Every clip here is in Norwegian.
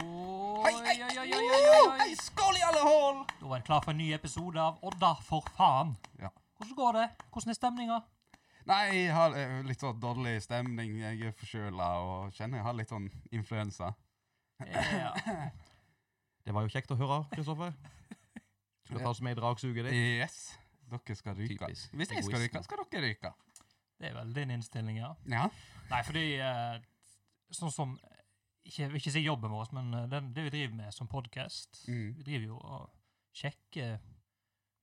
Oi, Oi, oi, oi, oi, oi, oi, oi, oi. oi, skål i alle hål! Da var det klar for en ny episode av Odda for faen. Ja. Hvordan går det? Hvordan er stemninga? Nei, jeg har eh, litt sånn dårlig stemning. Jeg er forkjøla og kjenner jeg har litt sånn influensa. Ja. Det var jo kjekt å høre, Kristoffer. Skal ta oss med i dragsuget ditt. Yes. Dere skal ryke. Typisk. Hvis jeg skal ryke, Egoisten. skal dere ryke. Det er vel din innstilling, ja. Ja. Nei, fordi eh, sånn som ikke, Jeg vil ikke si jobben vår, men eh, den, det vi driver med som podkast Mm. Vi driver jo og sjekker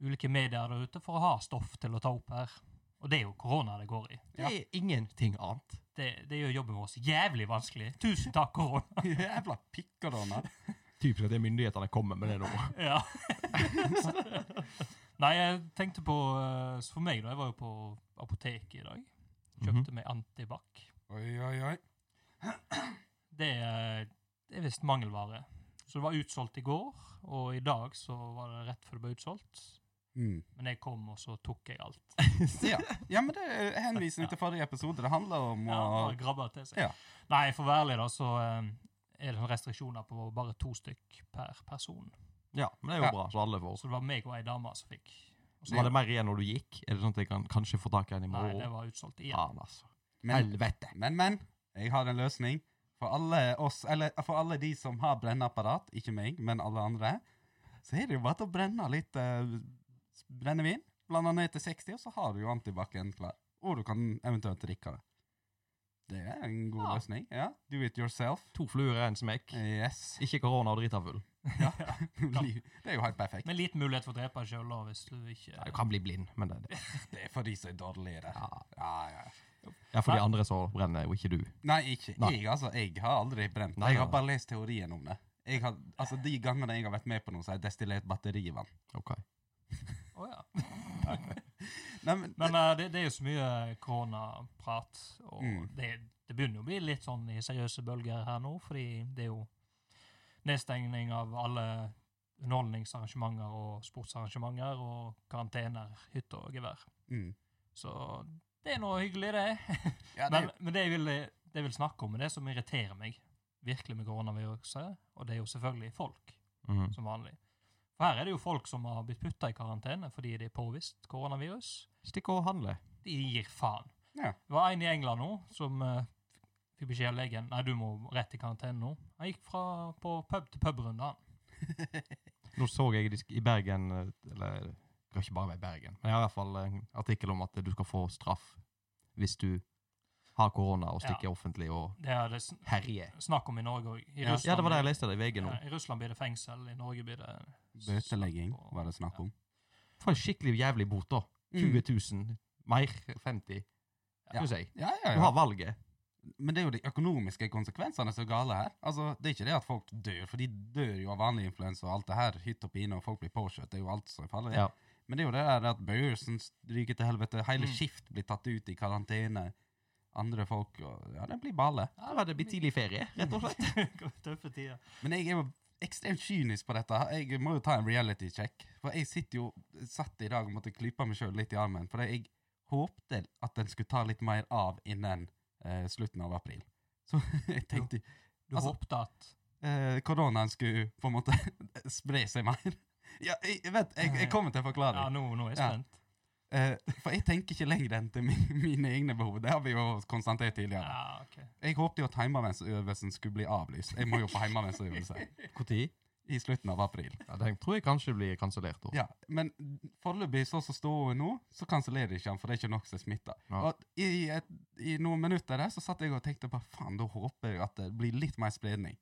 ulike medier der ute for å ha stoff til å ta opp her. Og det er jo korona det går i. Det er ingenting annet. Det, det gjør jobben vår så jævlig vanskelig. Tusen takk, korona. Jævla pikkadonner. Typisk at det er myndighetene kommer med det nå. Ja. Nei, jeg tenkte på eh, så For meg, da. Jeg var jo på apoteket i dag. Kjøpte meg antibac. Oi, oi, oi. Det er, det er visst mangelvare. Så det var utsolgt i går, og i dag så var det rett før det ble utsolgt. Mm. Men jeg kom, og så tok jeg alt. Ja. ja, men det er henvisning til forrige episode. Det handler om Ja, å bare grabba til seg. Ja. Nei, for å være ærlig, da, så eh, er det sånne restriksjoner på bare to stykk per person. Ja, men det er jo Ja. bra, så alle får. Så det var meg og ei dame som fikk. Og Så så var det mer igjen når du gikk? Er det sånn at jeg kan kanskje få tak i en i Nei, det morgen? var utsolgt igjen. Faen, altså. men, Helvete. men, men. Jeg har en løsning. For alle oss, eller for alle de som har brenneapparat, ikke meg, men alle andre, så er det jo bare til å blende litt eh, brennevin. Blande ned til 60, og så har du jo antibac-en klar. Og du kan eventuelt drikke det. Det er en god Ja. løsning. Ja. Do it yourself. To fluer i en smekk. Yes. Ikke korona og drita full. det er jo helt perfekt. Med liten mulighet for å drepe deg sjøl, da, hvis du ikke Ja, Du kan bli blind, men det er det. Det er for de som er dårligere. Ja, Ja, ja. ja for de andre så brenner jo ikke du. Nei, ikke Nei. jeg, altså. Jeg har aldri brent. Nei, jeg har nei, bare lest teorien om det. Jeg har, altså, De gangene jeg har vært med på noe, så har jeg destillert batterivann. Ok. Å, ja. Nei, men, Men eh, det, det er jo så mye koronaprat, og Mm. det, det begynner jo å bli litt sånn i seriøse bølger her nå, fordi det er jo nedstengning av alle underholdningsarrangementer og sportsarrangementer og karantener, hytte og gevær. mm. Så det er noe hyggelig, det. ja, det, Men, men det, jeg vil, det jeg vil snakke om, er det som irriterer meg virkelig med koronaviruset, og det er jo selvfølgelig folk, Mhm. som vanlig. For her er det jo folk som har blitt putta i karantene fordi det er påvist koronavirus Stikk og handle. de gir faen. Ja. Det var en i England nå som eh, fikk beskjed av legen Nei, du må rett i karantene nå. Han gikk fra, på pub til pubrunde, han. Nå så jeg i disk- i Bergen eh, Eller det kan ikke bare være i Bergen, men jeg har i hvert fall en artikkel om at du skal få straff hvis du har korona og stikker offentlig og Det er det sn herjer. snakk om i Norge òg. I, Ja. Russland ja, det var det jeg blir- leste det i VG nå. ja, I Russland blir det fengsel, i Norge blir det Bøtelegging var det snakk om. For en skikkelig jævlig bot, da. 20 000. Mer. 50. Mm. Ja. Syns jeg. Ja, ja, Du ja. har valget. Men det er jo de økonomiske konsekvensene som er gale her. Altså, Det er ikke det at folk dør, for de dør jo av vanlig influensa og alt det her. Hytt og pine, og folk blir påkjørt. Det er jo alt som er farlig. Ja. Men det er jo det der at børsen ryker til helvete, hele Mm. skift blir tatt ut i karantene, andre folk og Ja, det blir bale. Ja, det blir tidlig ferie, rett og slett. Tøffe tider. Men jeg er jo ekstremt kynisk på dette. her. Jeg må jo ta en reality check. For jeg sitter jo satt i dag og måtte klype meg sjøl litt i armen. For jeg håpte at den skulle ta litt mer av innen eh, slutten av april. Så jeg tenkte Du Altså- håpte at eh, koronaen skulle på en måte spre seg mer. Ja, jeg, jeg vet, jeg, jeg kommer til å forklare. Ja, nå, nå er jeg Ja. spent. Eh, for jeg tenker ikke lenger enn til min, mine egne behov. Det har vi jo konstatert Ja, tidligere. ok. Jeg håpte jo at heimevernsøvelsen skulle bli avlyst. Jeg må jo på heimevernsøvelse Når? i slutten av april. Ja, den tror jeg kanskje blir kansellert. da. Ja, men foreløpig sånn som står hun nå, så kansellerer ikke han, for det er ikke nok som er smitta. Ja. Og i, et, I noen minutter der så satt jeg og tenkte bare faen, da håper jeg at det blir litt mer spredning.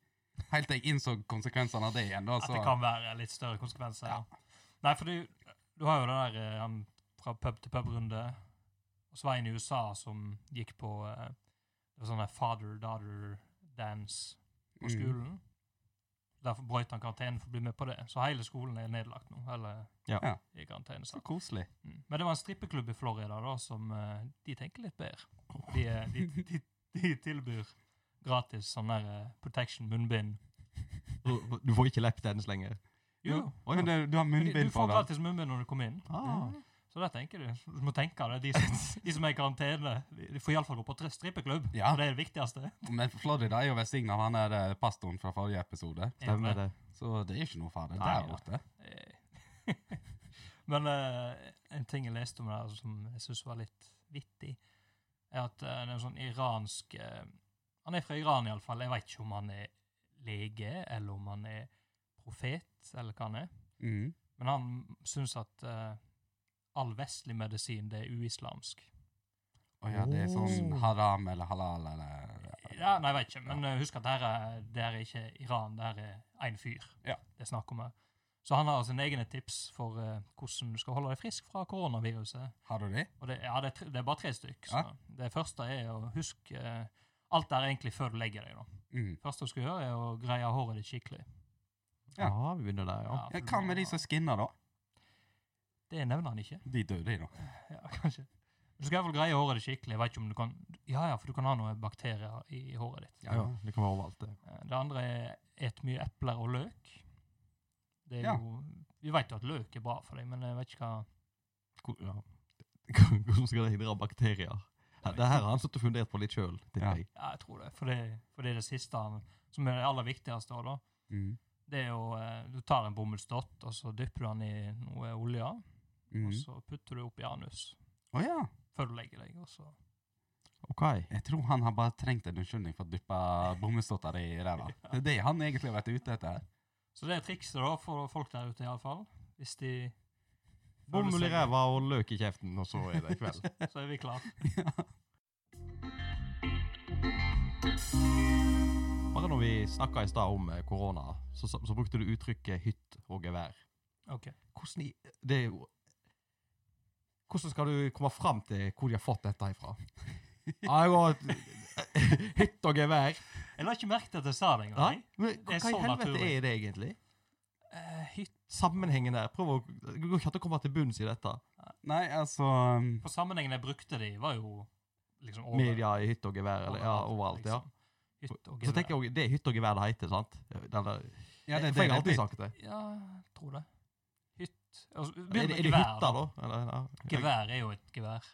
Helt til jeg innså konsekvensene av det igjen. Da, At så, det kan være litt større konsekvenser. Ja. Nei, for du, du har jo det der eh, han fra pub til pub-runde. Og Svein i USA som gikk på eh, det var sånn der father-daughter-dance på Mm. skolen. Derfor brøt han karantenen for å bli med på det. Så hele skolen er nedlagt nå. Eller Ja. Ja. i karantene. så Så. koselig. Mm. Men det var en strippeklubb i Florida da, som eh, de tenker litt bedre. De, eh, de, de, de tilbyr gratis sånn der eh, protection munnbind. Du- Du får ikke lapdance lenger. Jo, Å, ja. Men det, du har men de, munnbind du på får deg. gratis munnbind når du kommer inn. Ah. Så det tenker du. Du må tenke det. De som, de som er i karantene, de de får iallfall gå på tre- strippeklubb. Ja. Og det er det viktigste. Men Florida er jo velsigna av han der eh, pastoren fra forrige episode, Stemmer det. så det er ikke noe farlig Nei, der ja. borte. Eh, Men eh, en ting jeg leste om der som jeg syns var litt vittig, er at eh, det er en sånn iransk eh, Han er fra Iran iallfall. Jeg veit ikke om han er lege, eller om han er profet, eller hva han er. Mm. Men han syns at eh, all vestlig medisin, det er uislamsk. Å ja, det er sånn Oh. haram eller halal eller Ja, nei, jeg vet ikke, men eh, husk at det her er, det her er ikke Iran, det her er én fyr Ja. det er snakk om. her. Så han har altså sine egne tips for eh, hvordan du skal holde deg frisk fra koronaviruset. Har du det? Og det, ja, det, er tre- det er bare tre stykk. Så Ja. Det første er å huske eh, Alt der er egentlig før du legger deg. da. Mm. Det første du skal gjøre, er å greie håret ditt skikkelig. Ja. Ja, vi begynner der, ja. for Ja, du hva må- med de som skinner, da? Det nevner han ikke. De døde, de, da. Ja, kanskje. Du skal i hvert fall greie håret ditt skikkelig. Jeg vet ikke om du kan... Ja, ja, for du kan ha noen bakterier i håret ditt. Ja, ja. Det kan være overalt, det. Eh, Det andre er et mye epler og løk. Det er Ja. jo, vi vet jo at løk er bra for deg, men jeg vet ikke hva Hvor- ja. Hvordan skal de hindre bakterier? Ja, det her har han satt og fundert på litt sjøl, Ja. tipper jeg. ja, Jeg tror det. For det, for det er det siste, han- som er det aller viktigste. også, Da. Mm. Det er jo, eh, Du tar en bomullsdott, og så dypper du den i noe olje, Mm. og så putter du opp i anus Å ja. før du legger deg. og så... OK. Jeg tror han har bare trengt en unnskyldning for å dyppe bomullsdotter i ræva. Det er det han egentlig har vært ute etter. her. Så det er trikset da, for folk der ute, iallfall. Hvis de Bomull i ræva og løk i kjeften, og så er det kveld. Så er vi klare. Bare når vi snakka i stad om eh, korona, så, så, så brukte du uttrykket hytt og gevær. OK. Hvordan i Det er jo Hvordan skal du komme fram til hvor de har fått dette ifra? Ja, jeg har hytt og gevær. Jeg la ikke merke til at jeg sa det Ja, engang. men Det er hva i så helvete naturlig. er det egentlig? Eh, hytt Sammenhengen der. Prøv å, det går ikke an å komme til bunns i dette. Nei, altså um, For sammenhengen jeg brukte det i, var jo liksom over- Media i hytt og gevær, eller ja, overalt, overalt. ja. liksom. Hytt og Så gevær. tenker jeg også, det er hytt og gevær det heter, sant? Eller, Ja, det er det for jeg har det alltid sagt det. Ja, jeg tror det. Hytt altså, Er, begynn det- med er det gevær, hytta, da? Eller, ja. Gevær er jo et gevær.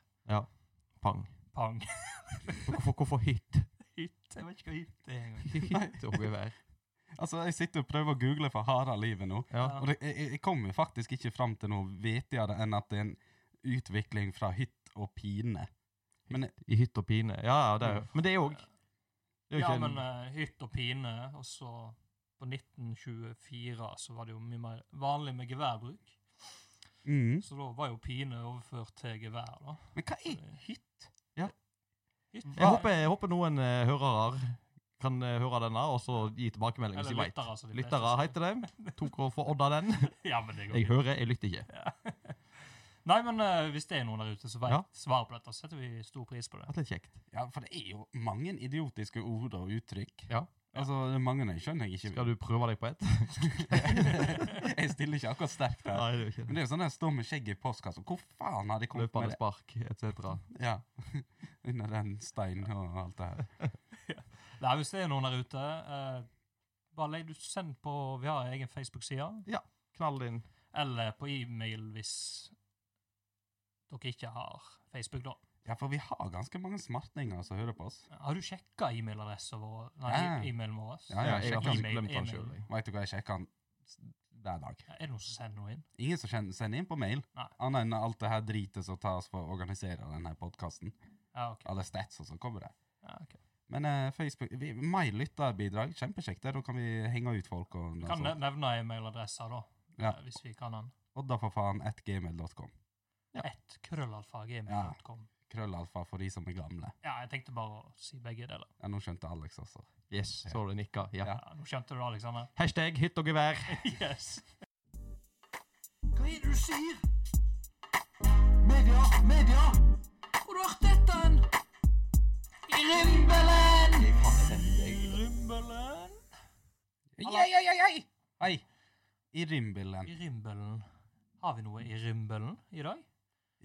Pang. Pang. Hvorfor, hvorfor hytt? Hytt. Jeg vet ikke hva hytt er engang. Hytt og gevær. Altså, Jeg sitter og prøver å google for harde livet nå. Ja. Ja. Og det, jeg, jeg- jeg kommer faktisk ikke fram til noe vetigere enn at det er en utvikling fra hytt og pine. I hytt og pine. Ja, ja, det er jo Men det er jo det er jo Ja, ikke en- men eh, hytt og pine, og så på 1924 så var det jo mye mer vanlig med geværbruk. Mm. Så da var jo pine overført til gevær, da. Men hva er hytt? Hytt, Jeg håper, jeg håper noen eh, hørere kan eh, høre denne, og så gi tilbakemelding hvis de Eller veit. lyttere, som de fleste Lyttere sier. heter det. Tok og forodda den. Ja, men det går Jeg hører, jeg lytter ikke. Nei, men eh, hvis det er noen der ute som vet Ja. svaret på dette, så setter vi stor pris på det. Hatt litt kjekt. Ja, For det er jo mange idiotiske ord og uttrykk. Ja. Altså, det er mange jeg skjønner jeg ikke. Skal du prøve deg på ett? jeg stiller ikke akkurat sterkt her. Nei, det er jo ikke Men det. det er jo sånn der står med skjegget i postkassa. Hvor faen har de kommet med Løpende det? spark etc. Ja. Under den steinen og alt det her. Nei, hvis det er noen der ute, eh, bare legg du send på Vi har egen Facebook-side, Knall inn. eller på e-mail hvis dere ikke har Facebook, da. Ja, for vi har ganske mange smartninger som hører på oss. Har du sjekka e-mailadressen vår? Nei, Ja. e- e-mailen vår? Ja, ja, jeg sjekk har den. faktisk glemt den E-mail. sjøl. Veit du hva, jeg sjekker den s- hver dag. Ja, Er det noen som sender noe inn? Ingen som kjenner, sender inn på mail, Nei. annet enn alt det her dritet som tas for å organisere denne podkasten. Ja, OK. Alle stats og så kommer det. Ja, ok. Men eh, Facebook vi, My lytterbidrag, kjempekjekt. det. Da kan vi henge ut folk. og Vi kan sånt. ne- nevne e-mailadressa, da, Ja. eh, hvis vi kan den. Odda for faen at gmail.com. Ja. Ett krøllalfa.gmail.com. Krøllalfa for de som er gamle. Ja, jeg tenkte bare å si begge deler. Ja, nå skjønte Alex også. Yes, så du nikka. Ja. Ja, nå skjønte du det, Alexander. Hashtag hytt og gevær. yes. Hva er det du sier? Media, media! Hvor har du hørt dette? hen? I Rimbelen! Rimbelen. Ei, ei, ei, ei! Hei! I rimbilen. I rimbelen. Har vi noe i rimbelen i dag?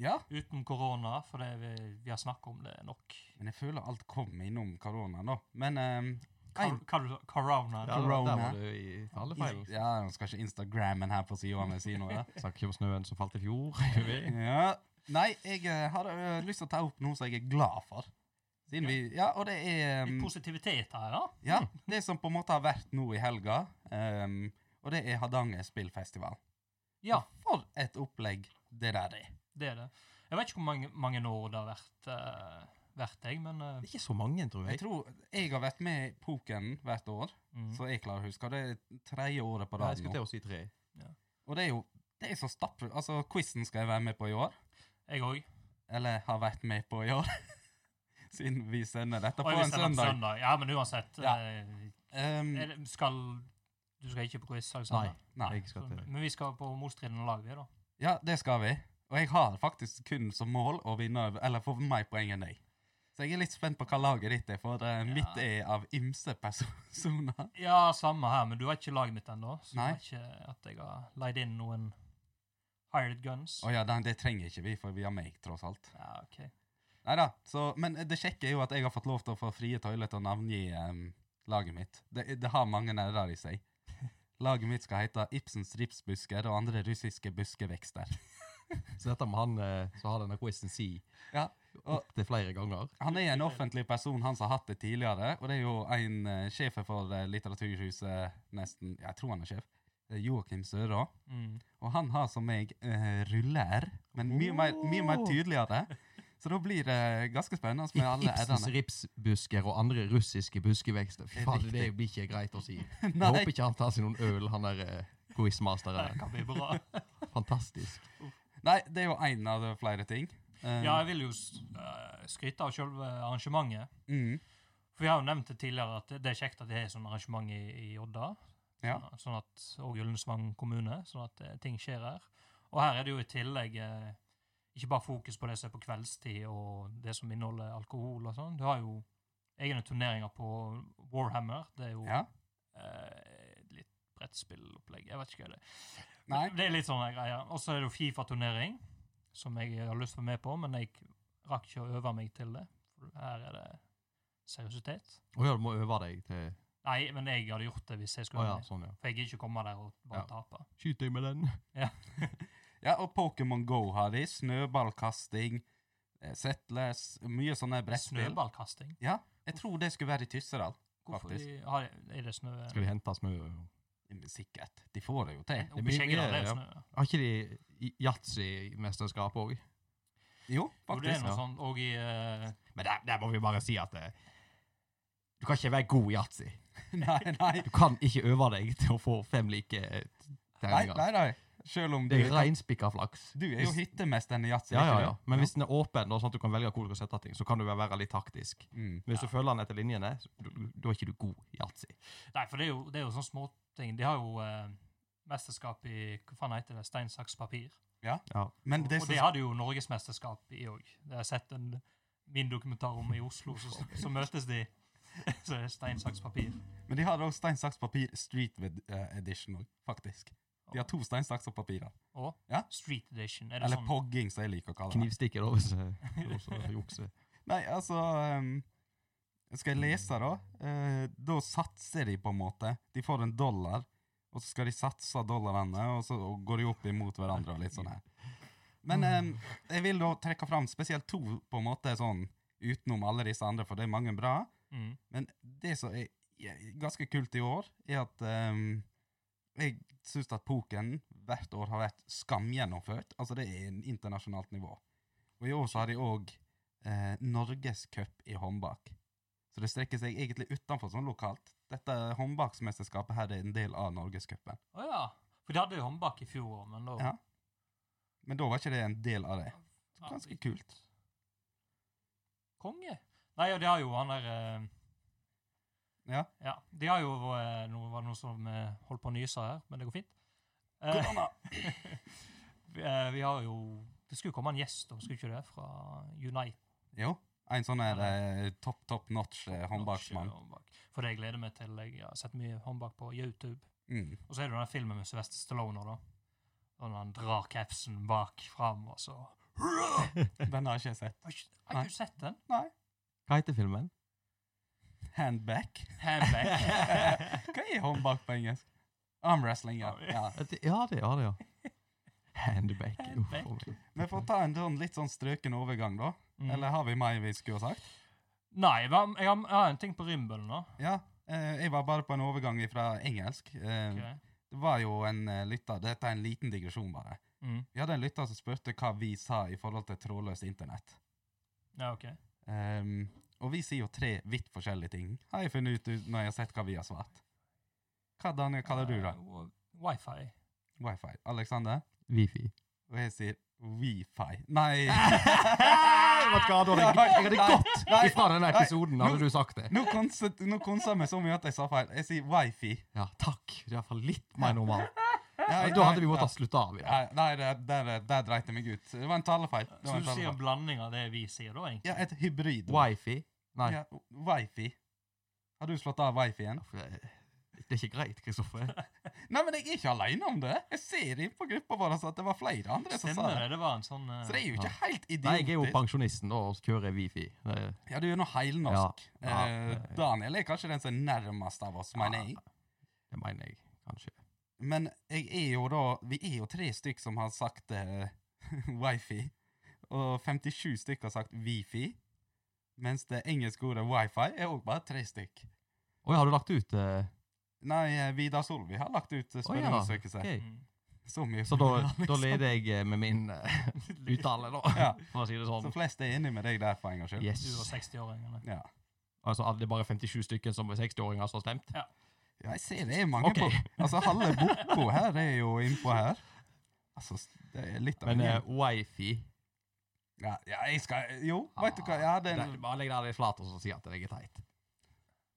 Ja. Uten korona, for det vi, vi har snakket om det nok. Men jeg føler alt kommer innom koronaen, da. Men ehm, Kar Ein- kar corona. Ja, der Corona. var du i tallefeil. Ja, nå skal ikke Instagrammen her på sida mi si noe. Snakker ikke om snøen som falt i fjor. Ja. Nei, jeg eh, har eh, lyst til å ta opp noe som jeg er glad for. Siden vi Ja, og det er Litt um, positivitet her, ja. Ja, det som på en måte har vært nå i helga, ehm, og det er Hardanger Spillfestival. Ja, For et opplegg det der er. det er det. Jeg vet ikke hvor mange, mange år det har vært, eh, vært jeg, men eh, Det er ikke så mange, tror Jeg jeg. tror jeg har vært med i Poken hvert år, mm. så jeg klarer å huske. og Det er tredje året på Nei, jeg rad skulle nå. til å si tre. Og det er jo det er så stappfullt. Altså, quizen skal jeg være med på i år. jeg òg. Eller har vært med på i år. Siden vi sender dette Og på jeg en visste den på søndag. søndag. Ja, men uansett. Ja. eh, Ehm, er det- skal Du skal ikke på quiz? sa jeg Nei. søndag. nei. Jeg skal til. Men vi skal på motstridende lag, vi, da. Ja, det skal vi. Og jeg har faktisk kun som mål å vinne over, eller få mer poeng enn deg. Så jeg er litt spent på hva laget ditt er, for eh, mitt er av ymse personer. Ja, samme her, men du har ikke laget mitt ennå. Så Nei. jeg vet ikke at jeg har leid inn noen hired guns. Å ja, den, det trenger ikke vi, for vi har meg, tross alt. Ja, ok. Nei da. Men det kjekke er jo at jeg har fått lov til å få frie tøyler til å navngi em, laget mitt. Det, det har mange nerder i seg. Laget mitt skal hete Ibsens ripsbusker og andre russiske buskevekster. Så dette må han eh, som har denne quizen si Ja, og- opptil flere ganger. Han er en offentlig person, han som har hatt det tidligere. Og det er jo en uh, sjef for eh, Litteraturhuset nesten Jeg tror han er sjef. det er Joakim Søraa. Mm. Og han har som meg eh, ruller, men mye mer, mye mer tydeligere. Så da blir det eh, ganske spennende med alle Ibsens r-ene. ripsbusker og andre russiske buskevekster. Fy faen, det blir ikke greit å si. Jeg Nei. håper ikke han tar seg noen øl, han der eh, Det quizmasteren. kan bli bra. Fantastisk. Nei, det er jo én av de flere ting. Eh, Ja, jeg vil jo s- eh, skryte av selve arrangementet. mm, For vi har jo nevnt det tidligere at det- det er kjekt at det er sånn arrangement i, i Odda. Ja. Sånn, sånn at, og Gyllensvang kommune, sånn at eh, ting skjer her. Og her er det jo i tillegg eh, ikke bare fokus på det som er på kveldstid og det som inneholder alkohol og sånn. Du har jo egne turneringer på Warhammer. Det er jo ja. eh, litt brettspillopplegg. Jeg vet ikke hva det er. Nei. Det er litt sånne greier. Og så er det jo Fifa-turnering, som jeg har lyst til å være med på, men jeg rakk ikke å øve meg til det. For her er det seriøsitet. Å ja, du må øve deg til Nei, men jeg hadde gjort det hvis jeg Å skulle ja, være med. sånn, ja. For jeg gidder ikke komme der og bare Ja. tape. Skyt deg med den. Ja, og Pokémon Go har de. Snøballkasting. eh, Settlers. Mye sånne brettspill. Snøballkasting? Ja, jeg tror det skulle være i Tyssedal. Hvorfor Faktisk. i- har, er det snø? Skal de hente snø? Sikkert. De får det jo til. Oppe i mye- Skjeggedal er det ja. snø. Har ikke de yatzy-mesterskap òg? Jo, Jo, det er faktisk. noe ja. sånt. Og i eh, Men der, der må vi bare si at eh, du kan ikke være god i yatzy. Nei, nei. Du kan ikke øve deg til å få fem like eh, Nei, terninger. nei, nei. Selv om du, Det er reinspikka flaks. du er jo hyttemesteren i Yatzy. Ja, ikke ja, du? ja. Men hvis den er åpen, og sånn at du kan velge hvor du skal sette ting, så kan du være litt taktisk. Mm. Men hvis du følger den etter linjene, så- du- du- da er ikke du god i yatzy. Nei, for det er jo, det er jo sånne småting. De har jo eh, mesterskap i Hva faen heter det? Stein, saks, papir. Men det og som det hadde jo norgesmesterskap i òg. Jeg har sett en, min dokumentar om i Oslo, så, så møtes de. Så det er stein, saks, papir. Men de har òg stein, saks, papir Street ved- eh, Edition òg, faktisk. De har to stein, saks og papir. da. Og Ja. Street Edition. Er det Eller sånn? pogging, som jeg liker å kalle det. Knivstikker, da, hvis eh, du også jukser. Nei, altså ehm, Skal jeg lese, da? Eh, da satser de, på en måte. De får en dollar, og så skal de satse dollarene, og så går de opp imot hverandre og litt sånn her. Men ehm, jeg vil da trekke fram spesielt to, på en måte, sånn utenom alle disse andre, for det er mange bra. Mm. Men det som er er ganske kult i år, er at ehm, jeg syns at poken hvert år har vært skamgjennomført. Altså, det er en internasjonalt nivå. Og i år så har de òg eh, Norgescup i håndbak. Så det strekker seg egentlig utenfor sånn lokalt. Dette håndbaksmesterskapet her er en del av Norgescupen. Å ja. For de hadde jo håndbak i fjor òg, men da Ja. Men da var ikke det en del av det. Ja, Ganske det- kult. Konge. Nei, og de har jo han der eh, Ja. ja. De har jo eh, Nå var det noe som eh, holdt på å nyse her, men det går fint. Eh, Korona! vi, eh, vi har jo Det skulle jo komme en gjest, da, skulle ikke det? Fra Unite. Jo, en sånn her eh, topp, topp notch eh, håndbaksmann. Håndbak. For det jeg gleder meg til. Jeg har sett mye håndbak på YouTube. Mm. Og så er det den filmen med Sylvester Stallone, da. Og når han drar capsen bak fram, og så Den har ikke jeg sett. Har ikke har ikke du sett den? Nei. Hva heter filmen? Handback? Handback. Hva er håndbak på engelsk? Armwrestling, ja. ja. Ja, det ja, det, ja. Handback. Uff, Handback. for meg. Vi får ta en sånn litt sånn strøken overgang, da. Mm. Eller har vi mer vi skulle ha sagt? Nei, hva- jeg har, jeg har en ting på rimbøll nå. Ja. eh, jeg var bare på en overgang fra engelsk. Eh, Ok. Det var jo en eh, lytter Dette er en liten digresjon, bare. Mm. Vi hadde en lytter som spurte hva vi sa i forhold til trådløst internett. Ja, ok. Ehm, og vi sier jo tre vidt forskjellige ting, har jeg funnet ut ut når jeg har sett hva vi har svart. Hva Daniel, kaller du det? Eh, wo- Wifi. Wifi. Alexander? Wifi. Og jeg sier wifi. Nei! Vet du hva, da hadde jeg, jeg hadde gått ifra den episoden, hadde du sagt det. Nå konser nå konser vi så mye at jeg sa feil. Jeg sier wifi. Ja, takk. Det er iallfall litt mer normalt. Ja, Da hadde vi måttet slutte av i det. Nei, nei, det- der, eh, der, dreit jeg meg ut. Det var en talefeil. Det var Så en du sier en talefeil. blanding av det vi sier da, egentlig? Ja, et hybrid. Wifi. Nei. Ja, wifi. Har du slått av wifi-en? Det er ikke greit, Kristoffer. Nei, men jeg er ikke alene om det. Jeg ser inn på gruppa vår altså at det var flere andre som sa Stemmer det. det, det var en sånn eh, Så det er jo ikke helt Nei, jeg er jo idiotisk. pensjonisten da, og kjører wifi. Det er- Ja, du er nå heilnorsk. Ja. Ja, Eh, det- Daniel er kanskje den som er nærmest av oss, mener jeg. det mener jeg kanskje. Men jeg er jo da Vi er jo tre stykk som har sagt eh, wifi. Og 57 stykk har sagt wifi. Mens det engelske ordet wifi er òg bare tre stykk. Oi, har du lagt ut eh, Nei, eh, Vidar Solvi har lagt ut eh, Å ja, spørreundersøkelse. ok. Mm. Så mye. liksom. Så da, da leder jeg eh, med min eh, uttale, da, sånn. Ja. for å si det Så sånn. flest er enig med deg der, for en gangs skyld. Yes. Du og 60-åringene. Ja. Altså, alle- det er bare 57 stykker som er 60-åringer som har stemt? Ja, jeg ser det er mange Ok. på Altså, halve Boko her er jo innpå her. Altså, s- det er litt av Men en eh, gjeng. wifi ja, ja, jeg skal Jo, vet du hva, ja, det er Nei, Bare legg deg litt flat og så si at jeg er teit.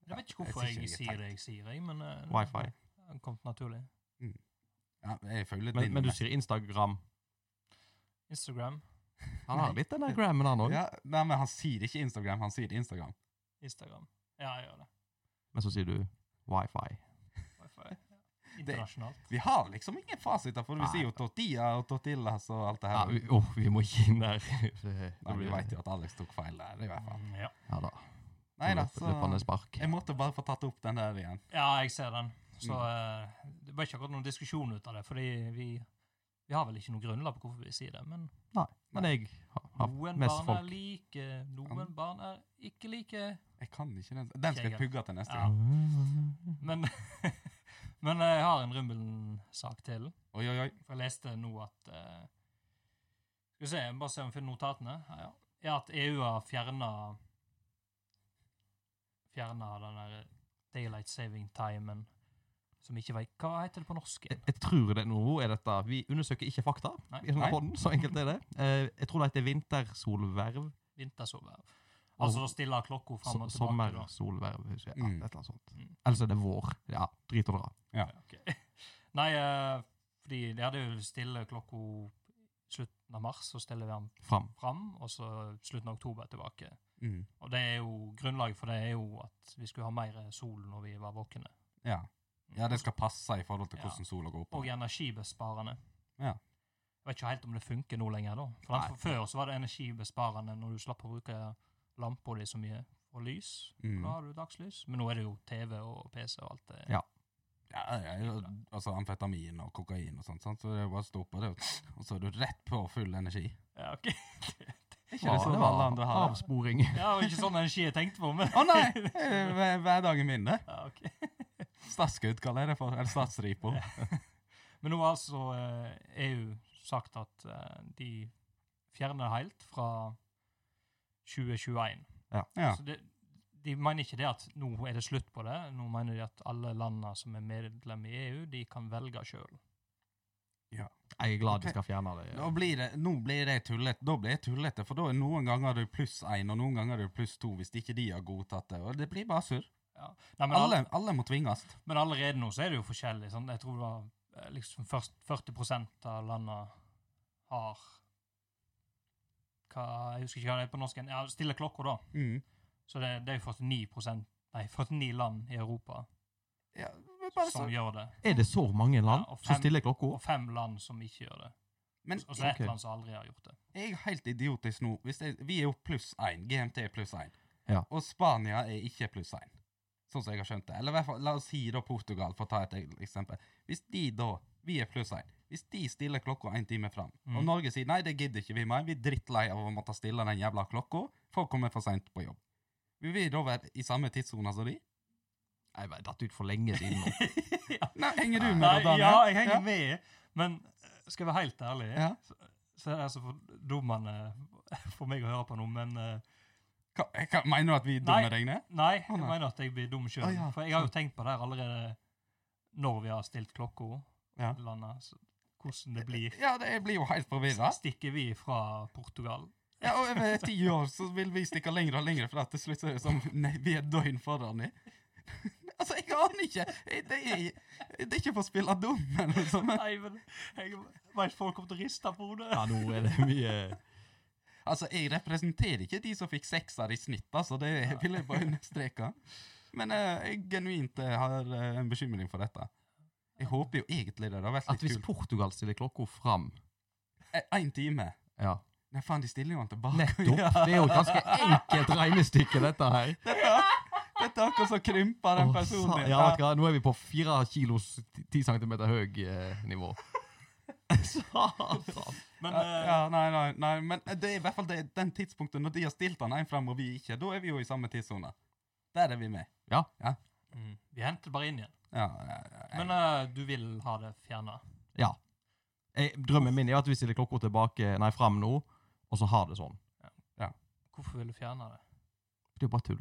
Jeg vet ikke Jeg hvorfor synes jeg, ikke det er sier det jeg sier, jeg, men eh, Wifi. det kom naturlig. ja, Jeg følger Men, din. men du mest. sier Instagram. Instagram. Han har litt den der grammen, han òg. ja, Nei, men han sier ikke Instagram, han sier Instagram. Instagram. Ja, jeg gjør det. Men så sier du wifi. Wifi. Internasjonalt. Vi har liksom ingen fasiter, for vi Nei. sier jo Tortilla og Tortillas og alt det Ja, her. vi, åh, vi må ikke inn der. Nei, vi veit jo at Alex tok feil der, i hvert fall. Mm, Ja. Ja da. Nei da, Løp- så Løpende spark. Jeg måtte bare få tatt opp den der igjen. ja, jeg ser den. Så Mm. eh, det ble ikke akkurat noen diskusjon ut av det, fordi vi, vi har vel ikke noe grunnlag på hvorfor vi sier det, men Nei, men jeg har, har noen mest barn er folk. like, noen barn er ikke like. Jeg kan ikke den Den skal jeg pugge til neste Ja. gang. Men, men jeg har en Rumbelen-sak til. Oi, oi, oi. For jeg leste nå at eh, Skal vi se, jeg må bare se om jeg finner notatene. Her, ja. ja, at EU har fjerna Fjerna den der daylight saving timen som ikke veit Hva heter det på norsk? Jeg, jeg tror det nå er dette Vi undersøker ikke fakta. Nei. i denne Nei. podden, så enkelt er det. Eh, jeg tror det heter vintersolverv. Vintersoverv. Altså da stiller klokka So fram og tilbake. da. altså. sommersolverv. husker jeg. Ja, Mm. et eller annet sånt. Mm. Eller så er det vår. Ja, drit og dra. Ok. Nei, eh, fordi de hadde jo stille klokka slutten av mars, så stiller vi den Fram. fram, og så slutten av oktober tilbake. Mm. Og det er jo, grunnlaget for det er jo at vi skulle ha mer sol når vi var våkne. Ja. ja, det skal passe i forhold til Ja. hvordan sola går opp. og energibesparende. Ja. Jeg vet ikke helt om det funker nå lenger. da. For Nei. for Før så var det energibesparende når du slapp å bruke lampa di så mye og lys. Mm. Da har du dagslys. Men nå er det jo TV og PC og alt det. Ja. Ja, ja, ja, altså amfetamin og kokain og sånt, sant? så det er jo bare å stoppe det, og så er du rett på full energi. Ja, ok. Er ikke det sånn alle andre har det? avsporing. ja, det var ikke sånn energi jeg tenkte på, men Å nei! det er jo hver- Hverdagen min, det. ja, ok. Statsskudd kaller jeg det for. Eller statsripo. Men nå har altså eh, EU sagt at eh, de fjerner det helt fra 2021. Ja. Så det, de mener ikke det at nå er det slutt på det. Nå mener de at alle landene som er medlem i EU, de kan velge sjøl. Jeg er glad de skal fjerne det. Nå blir det, nå blir det tullete, da blir jeg tullete, for da er noen ganger du pluss én, og noen ganger du pluss to hvis ikke de har godtatt det, og det blir bare surr. Nei, men, alle, Alle, alle må tvinges. men allerede nå så er det jo forskjellig. Sånn. Jeg tror det var eh, liksom først 40 av landene har hva, Jeg husker ikke hva det er på norsk. Ja, stille klokka, da. Mm. Så det, det er jo 49 Nei, 49 land i Europa Ja, men bare som så. gjør det. Er det så mange land Ja, og som fem- stiller klokka? Og fem land som ikke gjør det. Men Og så er det Ok. ett land som aldri har gjort det. jeg er helt idiotisk nå. Hvis jeg, vi er jo pluss én. GMT er pluss én. Ja. Og Spania er ikke pluss én. Sånn som jeg har skjønt det. Eller i hvert fall, la oss si da Portugal, for å ta et eksempel. Hvis de da, vi er pluss én, hvis de stiller klokka en time fram, og Mm. Norge sier nei, det gidder ikke vi mer, vi er drittlei av å måtte stille den jævla klokka, folk kommer for seint på jobb. Vil vi da være i samme tidssone som de? Jeg vet, datt ut for lenge siden nå. Nei, henger du med da, Nei, Daniel? ja, jeg henger Ja. med, men eh, skal jeg være helt ærlig, Ja. så, så er det altså fordummende eh, for meg å høre på nå, men eh, Hva, hva, mener du at vi er Nei. dumme, Regne? Nei, jeg Å, nei. mener at jeg blir dum sjøl. Å, ja, For jeg har jo tenkt på det her allerede når vi har stilt klokka. Ja. Landet, så, hvordan det blir. Ja, det, jeg blir jo helt forvirra. Stikker vi fra Portugal? Ja, og over ti år så vil vi stikke lenger og lenger fra til slutt så er det som nei, vi er et døgn foran i. Altså, jeg aner ikke. Jeg- Det er, det er ikke for å spille dum, eller noe sånt. men- Nei, men jeg veit folk kommer til å riste på hodet. Ja, nå er det mye Altså, jeg representerer ikke de som fikk sekser i snitt, altså, det vil jeg bare understreke. Men eh, jeg genuint eh, har eh, en bekymring for dette. Jeg håper jo egentlig det. Det har vært At hvis litt kult. Portugal stiller klokka fram Én time. Ja, Nei, faen, de stiller jo han tilbake. nettopp. Ja. Det er jo et ganske enkelt regnestykke, dette her. Dette er akkurat som krymper den Å, personen. sa- Ja, vet du hva, nå er vi på fire kilos ti- ti centimeter høy eh, nivå. Satan. Men Ja, eh, ja, nei, nei, nei, men det er i hvert fall det, den tidspunktet når de har stilt han en frem og vi ikke. Da er vi jo i samme tidssone. Der er vi med. mm, vi henter det bare inn igjen. Ja, ja, ja, ja. Men eh, du vil ha det fjerna? Ja. Jeg, Eh, drømmen min er at vi stiller klokka tilbake, nei, fram nå, og så har det sånn. Hvorfor vil du fjerne det? Det er jo bare tull.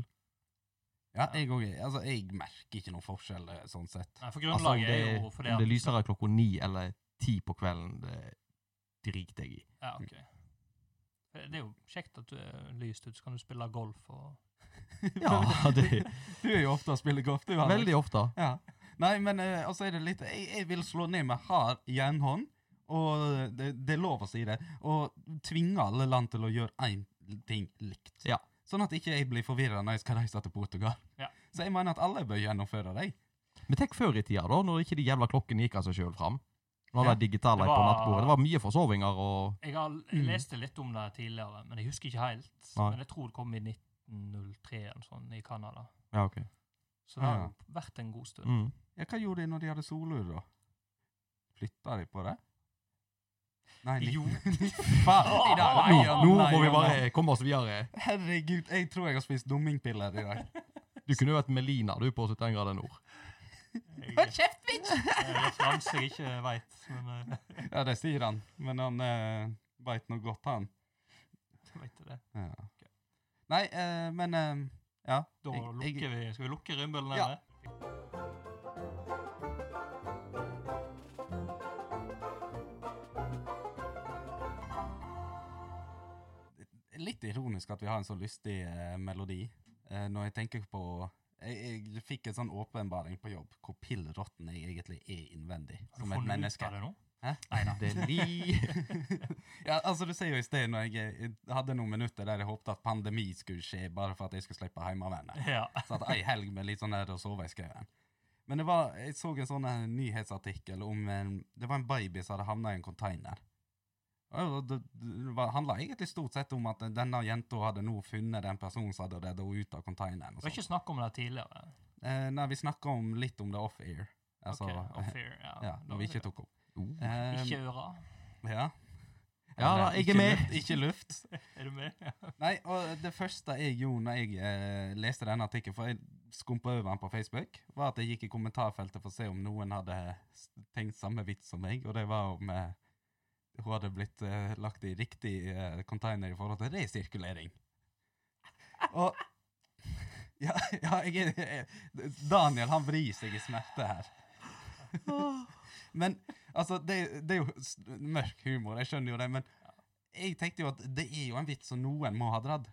ja jeg, og, altså, jeg merker ikke noen forskjell eh, sånn sett. Nei, for Altså, om grunnlaget det, er jo om fordi det at lyser klokka ni eller ti på kvelden, det driter jeg i. Ja, ok. Eh, Det er jo kjekt at du er lyst ut, så kan du spille golf og Ja, det Du er jo ofte og spiller golf, du. Alex. Veldig ofte. Ja. Nei, men eh, altså er det litt Jeg, jeg vil slå ned med hard jernhånd, og det, det er lov å si det, og tvinge alle land til å gjøre én ting likt. Ja. Sånn at ikke jeg blir forvirra når jeg skal reise til Portugal. Ja. Så jeg mener at alle bør gjennomføre det. Men tenk før i tida, da, når ikke de jævla klokkene gikk av seg sjøl fram. Når Ja. det digitale Det på var- nattbordet. Det var mye forsovinger og Jeg har Mm. jeg leste litt om det tidligere, men jeg husker ikke helt. Nei. Men jeg tror det kom i 1903 eller sånn i Canada. Ja, ok. Så det har Ja. jo vært en god stund. Mm. Ja, hva gjorde de når de hadde solur, da? Flytta de på det? Nei, Jo. Faen, i dag. Nå, Nei, ja, nå nei, må vi ja, nei. bare komme oss videre. Herregud, jeg tror jeg har spist dummingpiller i dag. Du kunne jo vært Melina, du, på 71 grader nord. Jeg, kjeft, bitch! jeg referanse jeg ikke veit, men eh, Ja, det sier han, men han uh, veit noe godt, han. jeg vet det. Ja. Nei, eh, men eh, ja. Da Jeg- jeg- lukker vi. Skal vi lukke rimbelen? Ja. eller? Litt ironisk at vi har en så lystig eh, melodi. Eh, når jeg tenker på jeg, jeg fikk en sånn åpenbaring på jobb hvor pillråtten jeg egentlig er innvendig. Har du Som et funnet ut menneske. av det nå? Det er li... Ja, altså Du sier jo i sted, når jeg, jeg hadde noen minutter der jeg håpte at pandemi skulle skje, bare for at jeg skulle slippe hjemmeværende. Ja. Satt ei helg med litt sånn der og sove i skauen. Men det var, jeg så en sånn eh, nyhetsartikkel om en, Det var en baby som hadde havna i en container. Og Det, det var- handla egentlig stort sett om at denne jenta hadde nå funnet den personen som hadde redda henne ut av containeren. og Vi har sånt. ikke snakket om det tidligere. Eh, nei, vi snakka om, litt om det off-air. Altså, Ok, off air, ja. ja, Da- når vi ikke tok opp. Oh. Eh, Ikke øra. ja. Ja da, Eller, jeg er ikke med. Luft, ikke luft. Er du med? Nei, og det første jeg gjorde når jeg eh, leste denne artikkelen, for jeg skumpa over den på Facebook, var at jeg gikk i kommentarfeltet for å se om noen hadde s- tenkt samme vits som meg, og det var om eh, hun hadde blitt eh, lagt i riktig eh, container i forhold til resirkulering. Og Ja, ja jeg, er- jeg, Daniel, han vrir seg i smerte her. Men altså, det, det er jo s- mørk humor, jeg skjønner jo det, men jeg tenkte jo at det er jo en vits som noen må ha dratt.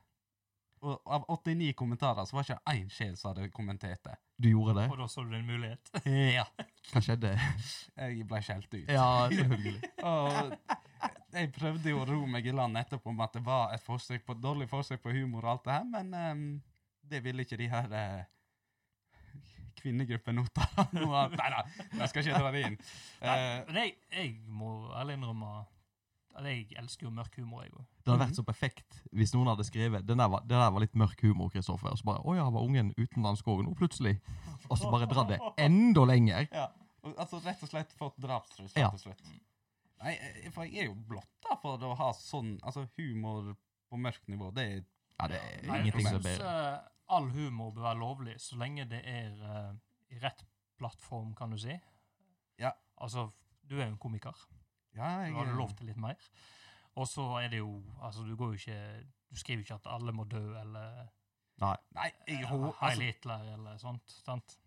Og av 89 kommentarer så var ikke én sjel som hadde kommentert det. Du gjorde det? Og da så du din mulighet. Ja. Hva skjedde? Jeg ble skjelt ut. Ja, selvfølgelig. Og jeg prøvde jo å ro meg i land etterpå med at det var et forsøk på, dårlig forsøk på humor og alt det her, men ehm, det ville ikke de her eh, kvinnegruppen nå ta noe av. Nei da, jeg skal ikke dra det inn. Nei, Eh, men jeg, jeg må ærlig innrømme Eller, jeg elsker jo mørk humor, jeg òg. Det hadde vært så perfekt hvis noen hadde skrevet Det der var, det der var litt mørk humor, Kristoffer. Og så bare Å ja, var ungen utenlands òg nå, plutselig? Og så bare dra det enda lenger. Ja. Og, altså rett og slett fått drapstrussel Ja. til slutt. Nei, eh, for jeg er jo blotta for å ha sånn altså humor på mørkt nivå. Det er Ja, det er Nei, ingenting jeg som er synes, bedre. eh, all humor bør være lovlig, så lenge det er eh, i rett plattform, kan du si. Ja. Altså, du er jo en komiker. Ja, Du jeg har er- lov til litt mer. Og så er det jo Altså, du går jo ikke Du skriver ikke at alle må dø, eller Nei. Nei, jeg, eh, hå- Heil altså, Hitler, eller sånt. sant?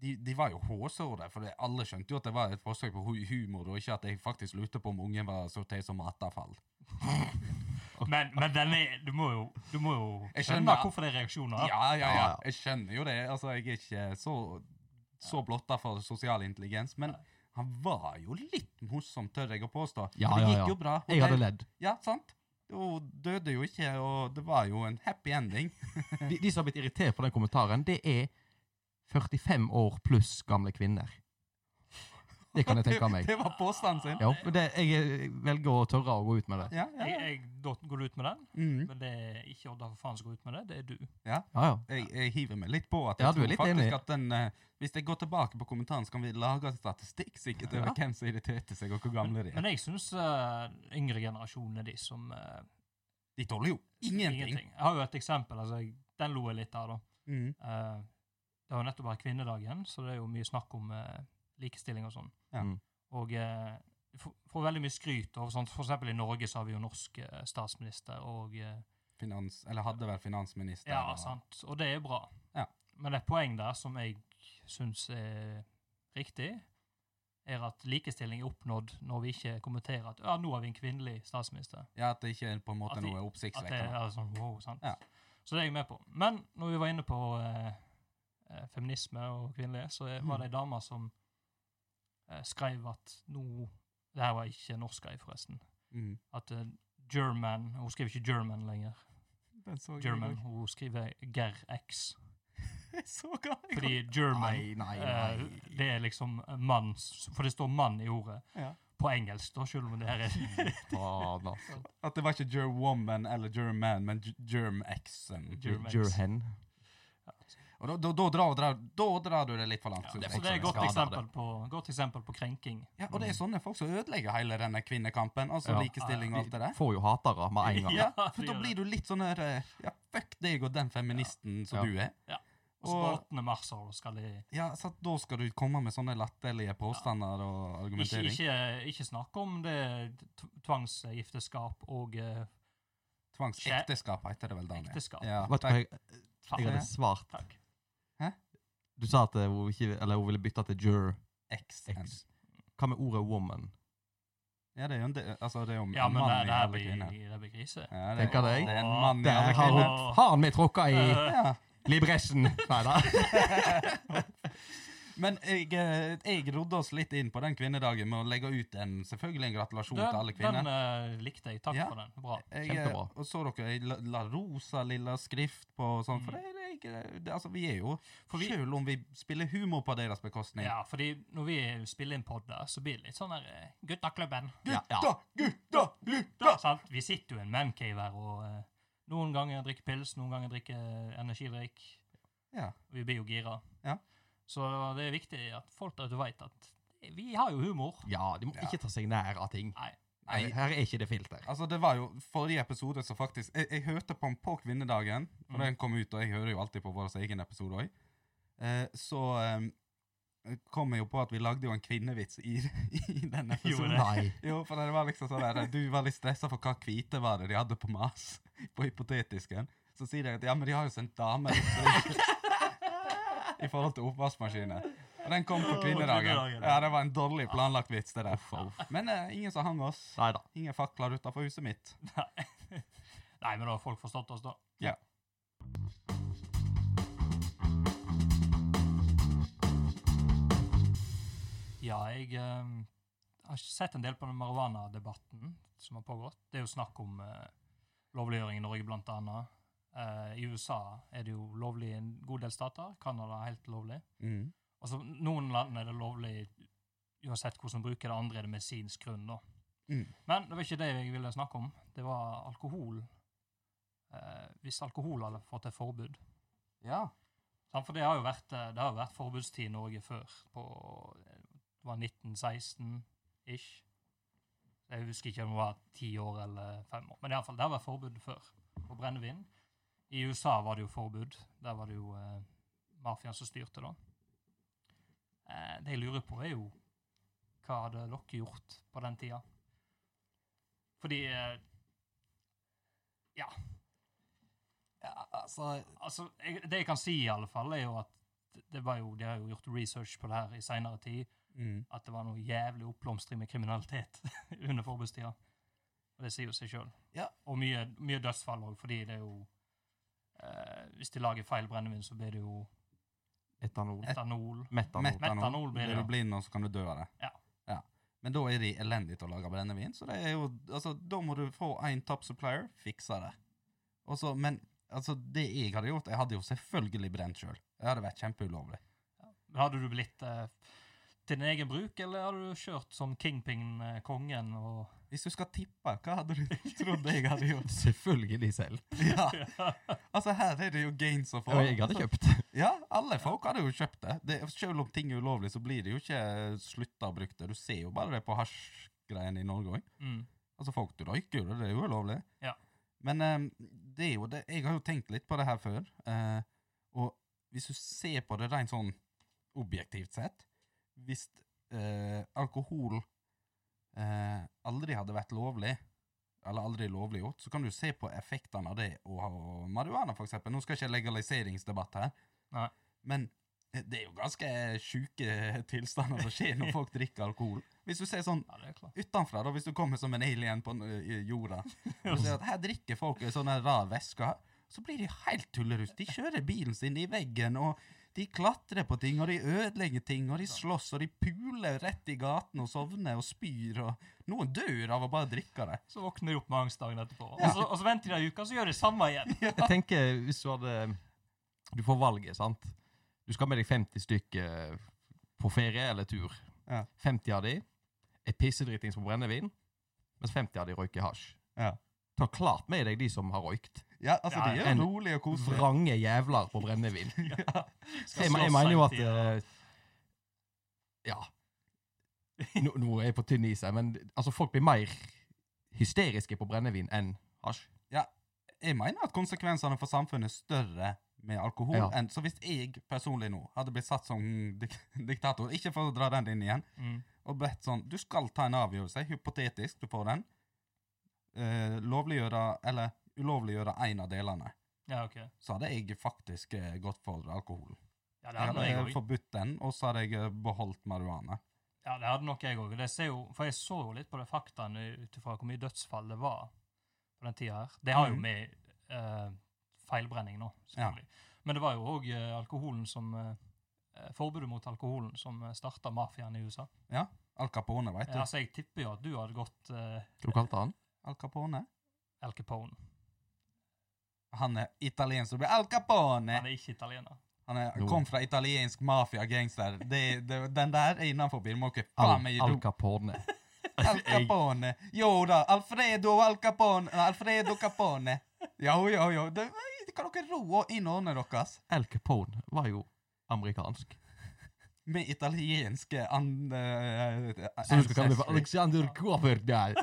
de, de var jo hårsåre, for det, alle skjønte jo at det var et forsøk på hu- humor, og ikke at jeg faktisk lurte på om ungen var sortert som matavfall. Men, men den er Du må jo, du må jo Jeg skjønner. skjønne hvorfor det er reaksjoner. Ja, ja, ja. Ja, ja. Jeg skjønner jo det. Altså, jeg er ikke så, så blotta for sosial intelligens, men han var jo litt morsom, tør jeg å påstå. Ja, Og det ja, gikk ja. jo bra. og Jeg hadde det- ledd. Ja, sant? Hun døde jo ikke, og det var jo en happy ending. De, de som har blitt irritert på den kommentaren, det er 45 år pluss gamle kvinner. Det kan jeg tenke meg. Det var påstanden sin. Ja, men det, jeg velger å tørre å gå ut med det. Ja, ja. Jeg, ja. jeg da går du ut med den, Mhm. men det er ikke Odda for faen som går ut med det. Det er du. Ja, ja. Jeg, jeg hiver meg litt på at jeg Ja, du er tror litt faktisk enig. at den eh, Hvis jeg går tilbake på kommentaren, så kan vi lage en statistikk sikkert over Ja. hvem som irriterte seg, og hvor gamle de er. Men jeg syns yngre generasjonen er de som eh, De tåler jo ingenting. Jeg har jo et eksempel. altså jeg, Den lo jeg litt av, da. Mhm. Eh, det har jo nettopp vært kvinnedagen, så det er jo mye snakk om eh, likestilling og sånn. Ja. Mm. Og eh, du får- får veldig mye skryt. Og sånt. For eksempel i Norge så har vi jo norsk eh, statsminister og eh, Finans, eller hadde vel finansminister. Ja, og- sant. Og det er bra. Ja. Men det er et poeng der som jeg syns er riktig, er at likestilling er oppnådd når vi ikke kommenterer at ja, nå har vi en kvinnelig statsminister. Ja, At det ikke er på en måte At de- noe At det oppsiktsvekkende. er sånn wow, sant? Ja. Så det er jeg med på. Men når vi var inne på eh, eh, feminisme og kvinnelige, så Mm. er- var det ei dame som eh, skrev at nå Det her var ikke norsk ei, forresten. Mhm. At eh, German Hun skriver ikke German lenger. Den så jeg i German, dag. Hun skriver Ger X. Jeg så glad jeg Fordi German Nei, nei, eh, nei. Det er liksom eh, mann s- For det står mann i ordet Ja. på engelsk, da, selv om det her er Faen, altså. At det var ikke Gerwoman eller German, men G- Germ-X-en. Germ X. Jurhen. Og da, da, da, drar, drar, da drar du det litt for langt. synes Så jeg. det er et godt liksom. Skader, eksempel på, godt eksempel på krenking. Ja, og det er sånne folk som ødelegger hele denne kvinnekampen. Altså Ja. likestilling og alt det der. Får jo hatere med en gang. Ja, Ja, for det da gjør blir du litt sånn her eh, Ja, fuck deg og den feministen som Ja. du er. Og så på Og- 8. mars så skal de Ja, så at da skal du komme med sånne latterlige påstander og ikke, argumentering. ikke, ikke snakke om det t- tvangsgifteskap og eh, Tvangsekteskap heter det vel, Daniel. ekteskap. Ja, Vet du hva takk. jeg, jeg hadde svart? Takk. Du sa at eh, hun, ikke, eller hun ville bytte til jur X-en. X. Hva med ordet woman? Ja, det er jo en, del- altså, det er jo en Ja, men det, mann det i her alle blir, kvinner. det blir grise. Ja, det, Tenker deg. det er en mann i Der alle har kvinner. hun Har vi tråkka i Eh, Ja. libresjen! Nei da. Men jeg, eh, jeg rodde oss litt inn på den kvinnedagen med å legge ut en, selvfølgelig en gratulasjon til den alle kvinner. den eh, likte jeg. Takk Ja. for den. Bra. Jeg, Kjempebra. eh, Og så dere jeg la, la rosa lilla skrift på og sånn, for det, det, er ikke- det, altså, vi er jo For vi- Selv om vi spiller humor på deres bekostning. Ja, fordi når vi spiller inn podder, så blir det litt sånn der eh, Guttaklubben. Ja, ja. Da, gutta, gutta! Ja, sant? Vi sitter jo i en mancave her, og eh, noen ganger drikker pils, noen ganger drikker energidrikk. Ja. Og vi blir jo gira. Ja. Så det er viktig at folk der ute veit at vi har jo humor. Ja, de må ikke ta seg nær av ting. Nei. Nei. Her er ikke det filter. Altså, det var jo forrige episode som faktisk Jeg, jeg hørte på den på kvinnedagen, for den kom ut, og jeg hører jo alltid på vår egen episode òg. Eh, så eh, kom jeg jo på at vi lagde jo en kvinnevits i, i den Gjorde episoden. det. Nei. Jo, for det var liksom sånn der, Du var litt stressa for hva hvite var det de hadde på Mars, på hypotetisken. Så sier de at ja, men de har jo sendt damer i forhold til oppvaskmaskiner. Og den kom på Åh, kvinnedagen. kvinnedagen. Ja, det var en dårlig planlagt vits, det der. Uff, uff. Men eh, ingen som hang oss. Nei da. Ingen fakler utafor huset mitt. Nei, men da har folk forstått oss, da. Ja. Ja, jeg eh, har ikke sett en del på den marihuana-debatten som har pågått. Det er jo snakk om eh, lovliggjøring i Norge, blant annet. Eh, I USA er det jo lovlig i en god del stater. Canada er helt lovlig. Mm. Altså, noen land er det lovlig uansett hvordan man bruker det, andre er det medisinsk grunn, da. Mm. Men det var ikke det jeg ville snakke om. Det var alkohol. Eh, hvis alkohol hadde fått et forbud. Ja. Sant, For det har jo vært, eh, det har jo vært forbudstid i Norge før. På, det var 1916-ish. Jeg husker ikke om det var ti år eller fem år. Men i alle fall, det har vært forbud før på brennevin. I USA var det jo forbud. Der var det jo eh, mafiaen som styrte, da. Eh, det jeg lurer på, er jo hva hadde dere gjort på den tida? Fordi eh, ja altså, altså, jeg, Det jeg kan si, i alle fall, er jo at det var jo, de har jo gjort research på det her i seinere tid. mm. At det var noe jævlig oppblomstring med kriminalitet under forbudstida. Og det sier jo seg sjøl. Ja. Og mye, mye dødsfall òg, fordi det er jo eh, Hvis de lager feil brennevin, så blir det jo Eh, Etanol. etanol. Metanol. Metanol. Metanol blir det, Blir ja. du blind, og så kan du dø av det. Ja. Men da er det elendig til å lage brennevin, så det er jo, altså, da må du få en top supplier, fikse det. Og så- men altså, det jeg hadde gjort, jeg hadde jo selvfølgelig brent sjøl. Det hadde vært kjempeulovlig. Men Hadde du blitt eh, til din egen bruk, eller hadde du kjørt som kingpin-kongen og Hvis du skal tippe, hva hadde du trodd jeg hadde gjort? Selvfølgelig selv. Ja, altså her er det jo gains å få. Og jeg hadde kjøpt. Ja, alle folk hadde jo kjøpt det. det. Selv om ting er ulovlig, så blir det jo ikke slutta å bruke det. Du ser jo bare det på hasjgreiene i Norge òg. mm. Altså, folk røyker jo det, det er jo ulovlig. Ja. Men eh, det er jo det Jeg har jo tenkt litt på det her før, eh, og hvis du ser på det rent sånn objektivt sett Hvis eh, alkohol eh, aldri hadde vært lovlig, eller aldri lovliggjort, så kan du se på effektene av det å ha marihuana, for eksempel. Nå skal ikke jeg legaliseringsdebatt her, Nei. men eh, det er jo ganske sjuke tilstander som skjer når folk drikker alkohol. Hvis du ser sånn Ja, det er klart. utenfra, da, hvis du kommer som en alien på ø, ø, jorda. Og ser at her drikker folk en sånn her rar væske, så blir de helt tullerus. De kjører bilen sin i veggen, og de klatrer på ting, og de ødelegger ting, og de slåss, og de puler rett i gaten og sovner og spyr, og noen dør av å bare drikke det. Så våkner de opp med angst dagen etterpå. Ja. Og, så, og så venter de ei uke, og så gjør de samme igjen. Jeg tenker, hvis du hadde Du får valget, sant? Du skal med deg 50 stykker på ferie eller tur. Ja. 50 av de er pissedritings på brennevin, mens 50 av de røyker hasj. Ja. Ta klart med deg de som har røykt. Ja, altså, Ja, de er en jo rolig og koselig. Vrange jævler på brennevin. Skal Jeg, jeg slåss mener hele jo at tiden. eh, Ja. Nå, nå er jeg på tynn is her, men altså, folk blir mer hysteriske på brennevin enn hasj. Jeg mener at konsekvensene for samfunnet er større med alkohol Ja. enn Så hvis jeg personlig nå hadde blitt satt som dik diktator, ikke for å dra den inn igjen, eh, Mm. og bedt sånn Du skal ta en avgjørelse, hypotetisk, du får den. Eh, lovliggjøre eller ulovliggjøre én av delene. Ja, ok. Så hadde jeg faktisk eh, gått for alkohol. Ja, det Jeg hadde hadde jeg eh, også. forbudt den, og så hadde jeg eh, beholdt marihuana. Ja, det hadde nok jeg òg. For jeg så jo litt på de faktaene ut ifra hvor mye dødsfall det var på den tida her. Det har jo Mm. Mhm. med eh, feilbrenning nå, selvfølgelig. Men det var jo òg eh, alkoholen som eh, eh, Forbudet mot alkoholen som starta mafiaen i USA. Al Capone, veit du. Ja, altså, jeg tipper jo at du hadde gått eh, Hva du kalte du han? Al Capone. Al Capone. Han er italiensk og blir Al Capone! Han er ikke italiener. Han er, Jo. kom fra italiensk mafia-gangster. Det- det- Den der er innenfor. Må ikke Al, faen meg gi Al ro. Capone. Al Capone. Jo da, Alfredo Al Capone. Nei, Alfredo Capone. Jo, jo, jo. Det, kan dere ro inn og ordne deres? Al Capone var jo amerikansk. Med italienske an... eh, Så du skal kalle meg for ancestry. Alexander Kvaperdal.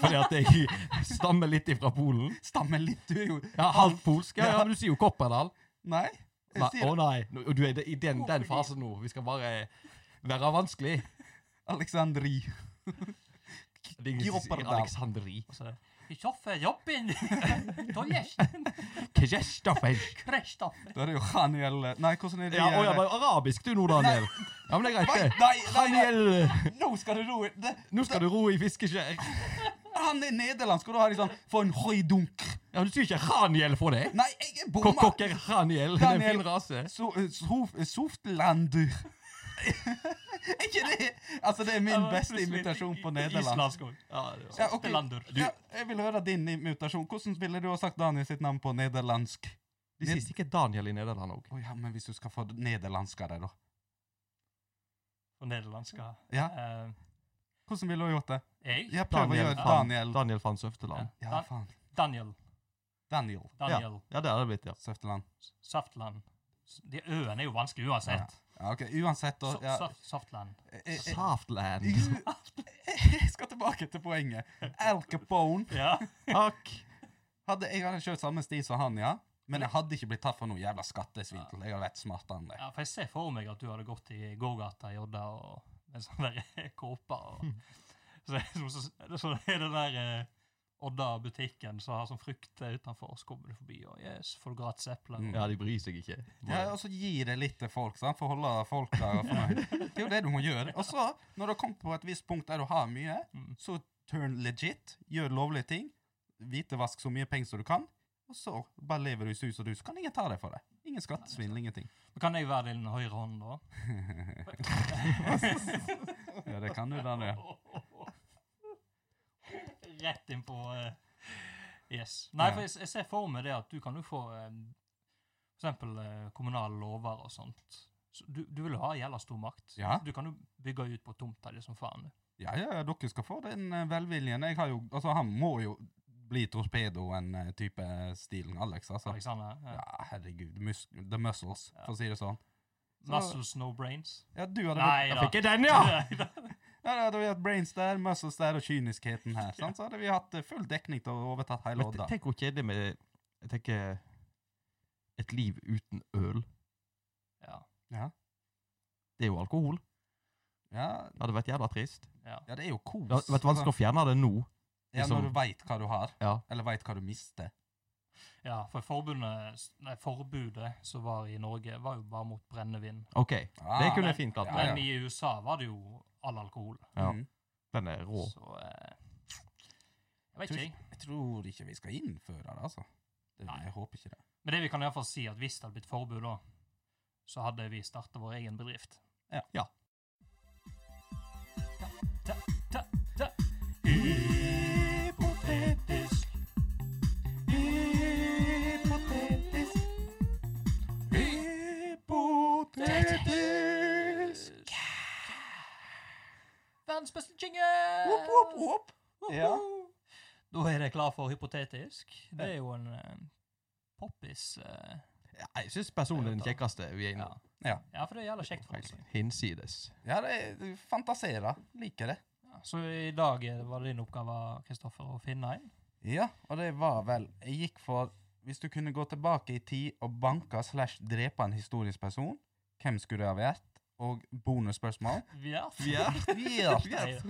Fordi at jeg stammer litt ifra Polen. Stammer litt, du er jo Ja, halvt polsk. Ja, ja, men du sier jo Kopperdal. Nei? Å Jeg sier nei, Nå- du er i den, den fasen nå. Vi skal bare være vanskelig. Alexandri. Det er ingen som sier Kopperdal. Alexandri. Og så er det Kristoffer Jobbin! Tojes! Kristoffer. Kristoffer! Da er det jo Haniel Nei, hvordan er det Ja, å, ja, men arabisk du nå, Daniel. Ja, men det Nei, er greit, det. nei, nei, nei. Daniel, Nå skal du ro inn. Det- nå skal du ro i fiskeskjær. Han er nederlandsk, og da har de sånn For en høydunk. Ja, du sier ikke Haniel på det. Nei, jeg er bomma. Kokker Haniel. Det er en Daniel. fin rase. So, eh, sof, softlander. Er ikke det Altså, det er min beste invitasjon på Nederland. Islandsk òg. Ja, det var- Ja, ok. Lander. Ja, jeg vil høre din invitasjon. Hvordan ville du ha sagt Daniel sitt navn på nederlandsk? De sier sikkert Daniel i Nederland òg. Å ja, men hvis du skal få nederlandsk av det, da. På nederlandsk. ja. Ja. Eh, Hvordan ville du gjort det? Jeg? Jeg prøver å Daniel, gjøre Fan- Daniel Daniel van Søfteland. Ja, Dan- faen. Daniel. Daniel Daniel. Ja, det hadde det blitt, ja. Søfteland. Saftland. S- De ø-ene er jo vanskelig uansett. Ja, OK, uansett, da Sa- ja, sa- Saftland. jeg- eh. jeg- jeg- Saftland. eh, Jeg skal tilbake til poenget. Al Capone Ja. Takk. hadde, Jeg hadde kjørt samme sti som han, ja. Men jeg hadde ikke blitt tatt for noe jævla skattesvindel. Jeg hadde vært smartere enn deg. ja, for jeg ser for meg at du hadde gått i gågata i Odda og med sånn der kåpe og Hmm. så, så, så, så er det der eh, Odda-butikken som har sånn frukt eh, utenfor, og så kommer du forbi og yes, får du gratis epler. Mm. Ja, de bryr seg ikke. Ja, og så gi det litt til folk, sant? for å holde folk der og fornøyd. Det er jo det du må gjøre. Og så, når du har kommet på et visst punkt der du har mye, Mm. så turn legit, gjør lovlige ting, hvitevask så mye penger som du kan, og så bare lever du i sus og dus. Kan ingen ta deg for det. Ingen skattesvindel, ingenting. Men Kan jeg være din høyre hånd, da? Ja, det kan du, Daniel. Rett inn på eh, Yes. Nei, Ja. for jeg, jeg ser for meg det at du kan jo få eh, for eksempel eh, kommunale lover og sånt. Så du, du vil jo ha jævla stor makt. Ja. Du kan jo bygge ut på tomta di som faen. Ja, ja, ja, dere skal få den eh, velviljen. Jeg har jo, altså, han må jo bli torpedoen eh, type stilen Alex, altså. Alexander. Ja, Ja. herregud. Mus the muscles, Ja. for å si det sånn. Så- Muscles, no brains. Ja, du hadde vært, Nei da. jeg den, Nei, da. ja, da hadde vi hatt brains der, muscles der og kyniskheten her. Sant? Så hadde vi hatt eh, full dekning til å overtatt hele Men Odda. tenk hvor kjedelig med Jeg tenker et liv uten øl. Ja. Det er jo alkohol. Ja, Det hadde vært jævla trist. ja. ja, det er jo kos. Det hadde vært vanskelig å fjerne det nå. ja, liksom- når du veit hva du har, Ja. eller veit hva du mister. ja, for forbundet, nei, forbudet som var i Norge, var jo bare mot brennevin. OK. Det Ah, kunne jeg fint klart. Ja, Men ja. i USA var det jo all alkohol. Ja. mm. Den er rå. Så eh, Jeg vet Tror- ikke, jeg. Jeg tror ikke vi skal innføre det, altså. Det, Nei. jeg håper ikke det. Men det vi kan i hvert fall si, at hvis det hadde blitt forbud da, så hadde vi starta vår egen bedrift. Ja. Ta, ta, ta. Hypotetisk. Hypotetisk. Hypotetisk. Verdens beste jingle! Woop, woop, woop. Ja. Da er det klar for hypotetisk. Det er jo en eh, poppis eh, Ja, jeg syns personlig den kjekkeste vi er ja. innom. Ja. ja, for det er jævla kjekt for oss. Hinsides. Ja, det er- fantaserer. Liker det. Ja, Så i dag eh, var det din oppgave, Kristoffer, å finne en. Ja, og det var vel Jeg gikk for Hvis du kunne gå tilbake i tid og banke slash drepe en historisk person, hvem skulle det ha vært? Og bonusspørsmål. Ja. Ja. Yes.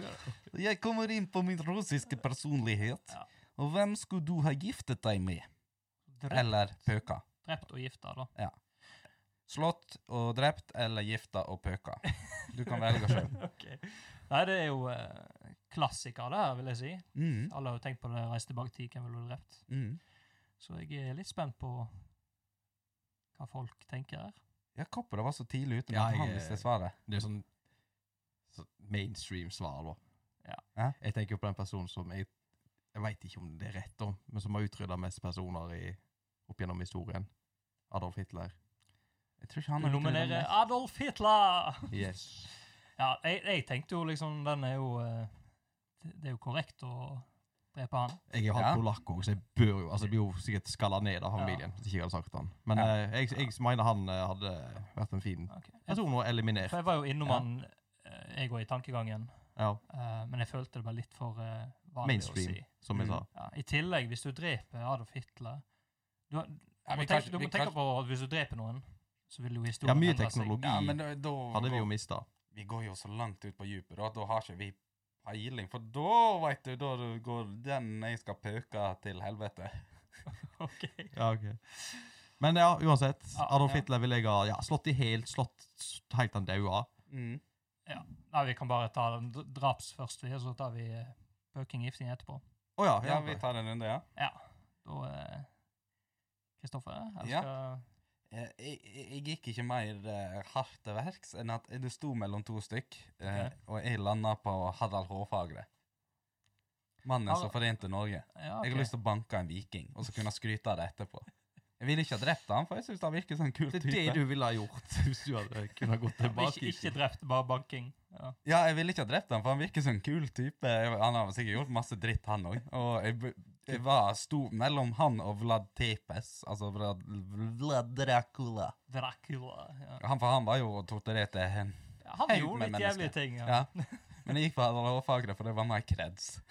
Jeg kommer inn på min russiske personlighet. Ja. Og hvem skulle du ha giftet deg med? Drept, Eller pøka? drept og gifta, da. Slått og drept eller gifta og pøka? Du kan velge sjøl. Ok. Nei, det er jo eh, klassiker, det her, vil jeg si. Mm, Alle har jo tenkt på det, reise tilbake til hvem ville du drept. mm. Så jeg er litt spent på hva folk tenker her. Ja, Kopperud var så tidlig ute med Ja, at han jeg- visste svaret. Det er sånn, sånn mainstream-svar, da. Ja. Ja. Jeg tenker på den personen som jeg Jeg veit ikke om det er rett, da, men som har utrydda mest personer i, opp gjennom historien. Adolf Hitler. Jeg tror ikke han Du har utryddet nominerer meg. Adolf Hitler! Yes. Ja, jeg, jeg tenkte jo liksom Den er jo eh, Det det er jo korrekt å drepe han. Jeg er jo halvt Ja. polakk òg, så jeg bør jo altså, jeg blir jo sikkert skalla ned av familien. Hvis ikke jeg hadde sagt han. Men Ja. eh, jeg, jeg mener han eh, hadde vært en fin Ok. Jeg, person å for eliminere. jeg var jo innom Ja. han, eh, jeg òg, i tankegangen. Ja. eh, men jeg følte det ble litt for eh, vanlig Mainstream, å si. som jeg Mm. sa. Ja, I tillegg, hvis du dreper Adolf Hitler Du, har- Ja, må vi tenke, kanskje- du vi må tenke kanskje- på at hvis du dreper noen, så vil jo Ja, historien mye endre seg. teknologi Ja, men da, da hadde vi går, jo mista. vi går jo så langt ut på djupet, da, da har ikke vi peiling. For da, veit du, da du går den jeg skal pøke til helvete. Ok. Ja, ok. Men ja, uansett. Ja, Adolf ja. Hitler ville jeg ha ja, slått i helt, slått s- helt han daua. Mm. Nei, vi kan bare ta den dr- draps først, vi, og så tar vi eh, pøking gifting etterpå. Å ja, Ja, vi tar en runde, ja. Ja. Da eh, Kristoffer, eller Ja. skal Eh, Jeg, jeg jeg gikk ikke mer eh, hardt til verks enn at det sto mellom to stykk, eh, Ok. og jeg landa på Harald Hårfagre. Mannen som Harald- forente Norge. Ja, Jeg har lyst til å banke en viking, og så kunne jeg skryte av det etterpå. Jeg ville ikke ha drept han, for jeg syns han virker som en kul Det type. er det du ville ha gjort hvis du hadde kunnet gått tilbake. ikke, ikke drept, bare banking. Ja. Ja. Ja, jeg ville ikke ha drept han, for han virker som en kul type. Jeg- Han har sikkert gjort masse dritt, han òg. Og jeg, b- jeg var sto mellom han og Vlad Tepes, altså Vlad, Vlad Dracula. Dracula. Ja. Han, for han var jo og torturerte hen. Ja, Han Helt gjorde med litt mennesker. jævlige ting. Ja. Ja. Men jeg gikk for Hårfagre, for det var mer creds.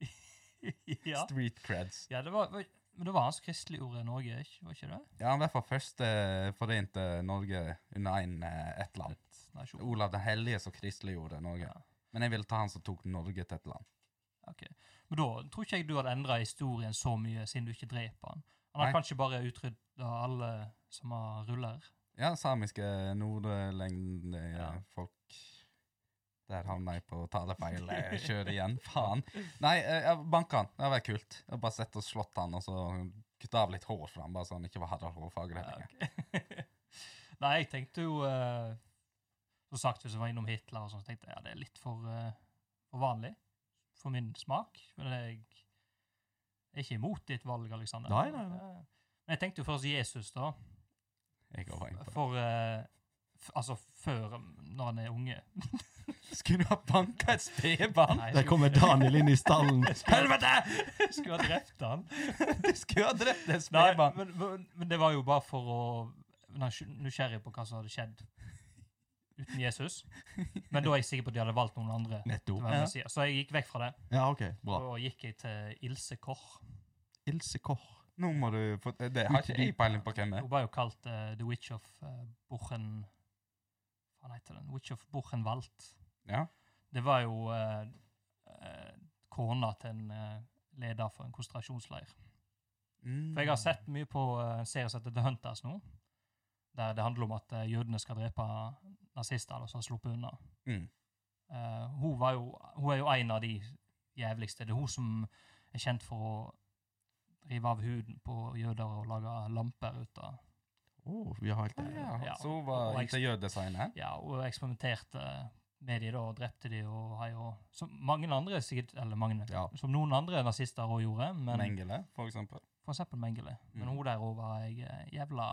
ja. Street creds. ja det var, men det var hans kristelige ord i Norge, ikke? var ikke det? Ja, han var fra første forente Norge under en, eh, ett land. Nasjon. Olav den hellige som kristeliggjorde Norge. Ja. Men jeg ville ta han som tok Norge til et land. Ok. Men da tror ikke jeg du hadde endra historien så mye, siden du ikke dreper han. Han har Nei. kanskje bare utrydda alle som har ruller. Ja, samiske nordlengde eh, Ja. folk. Der havna jeg på talefeil. Jeg eh, kjører igjen. Faen. Nei, eh, jeg banka han. Det hadde vært kult. Jeg hadde bare sett og slått han, og så kutta av litt hår fra han, bare så han ikke var Harald Hårfagre Ja, lenger. ok. Nei, jeg tenkte jo eh, Som sagt, hvis jeg var innom Hitler og sånn, så tenkte jeg ja, det er litt for, eh, for vanlig for min smak. Men jeg er ikke imot ditt valg, Aleksander. Nei, nei, nei. Men jeg tenkte jo først Jesus, da. Jeg går inn på det. For eh, f Altså før, um, når han er unge. Skulle du ha banka et spedbarn? Nei, Der kommer Daniel inn i stallen. Helvete! jeg skulle ha drept han. Du skulle ha drept et Nei, spedbarn. men, men, men det var jo bare for å være nysgjerrig på hva som hadde skjedd uten Jesus. Men da er jeg sikker på at de hadde valgt noen andre. til å Nettopp. være Ja. Messias. Så jeg gikk vekk fra det. Ja, OK. Bra. Og gikk jeg til Ilse Kår. Ilse Kår. Nå må du få eh, Det har ikke jeg peiling på hvem er. Hun ble jo kalt eh, The Witch of eh, Buchen... Hva heter den? Witch of Buchenwald. Ja. Det var jo eh, eh, kona til en eh, leder for en konsentrasjonsleir. Mm. For jeg har sett mye på eh, en serie som heter The Hunters nå, der det handler om at eh, jødene skal drepe nazister eller som har sluppet unna. mm. Eh, hun, var jo, hun er jo en av de jævligste. Det er hun som er kjent for å rive av huden på jøder og lage lamper ut av Å, vi har helt det. ja. Ja. Så hun var Og jeg- interiørdesigner. ja, og eksperimenterte med de da, og drepte de, og hei og Som mange andre, sikkert, eller mange, Ja. som noen andre nazister også gjorde, men Mengele, for eksempel. for eksempel Mengele. Men Mm. hun der også var jeg eh, jævla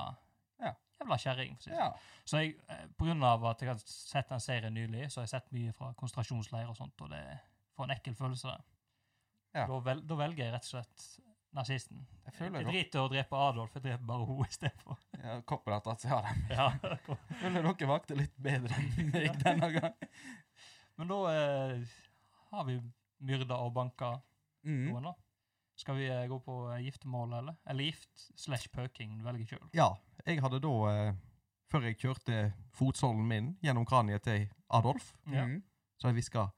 Ja. Jævla kjerring. for å si det Ja. sånn. Så jeg, eh, på grunn av at jeg har sett den serien nylig, så har jeg sett mye fra konsentrasjonsleirer og sånt, og det får en ekkel følelse. det. Ja. Da, vel, da velger jeg rett og slett nazisten. Jeg Jeg, føler dere, driter i å drepe Adolf, jeg dreper bare henne istedenfor. ja, copyright at jeg har dem. Ja. Føler dere vakte litt bedre enn meg denne gangen. Men da eh, har vi myrda og banka Mm. noen, da. Skal vi eh, gå på eh, giftermål, eller? Eller gift slash pøking, du velger sjøl. Ja, jeg hadde da eh, Før jeg kjørte fotsålen min gjennom kraniet til Adolf, Ja. Mm. så jeg hviska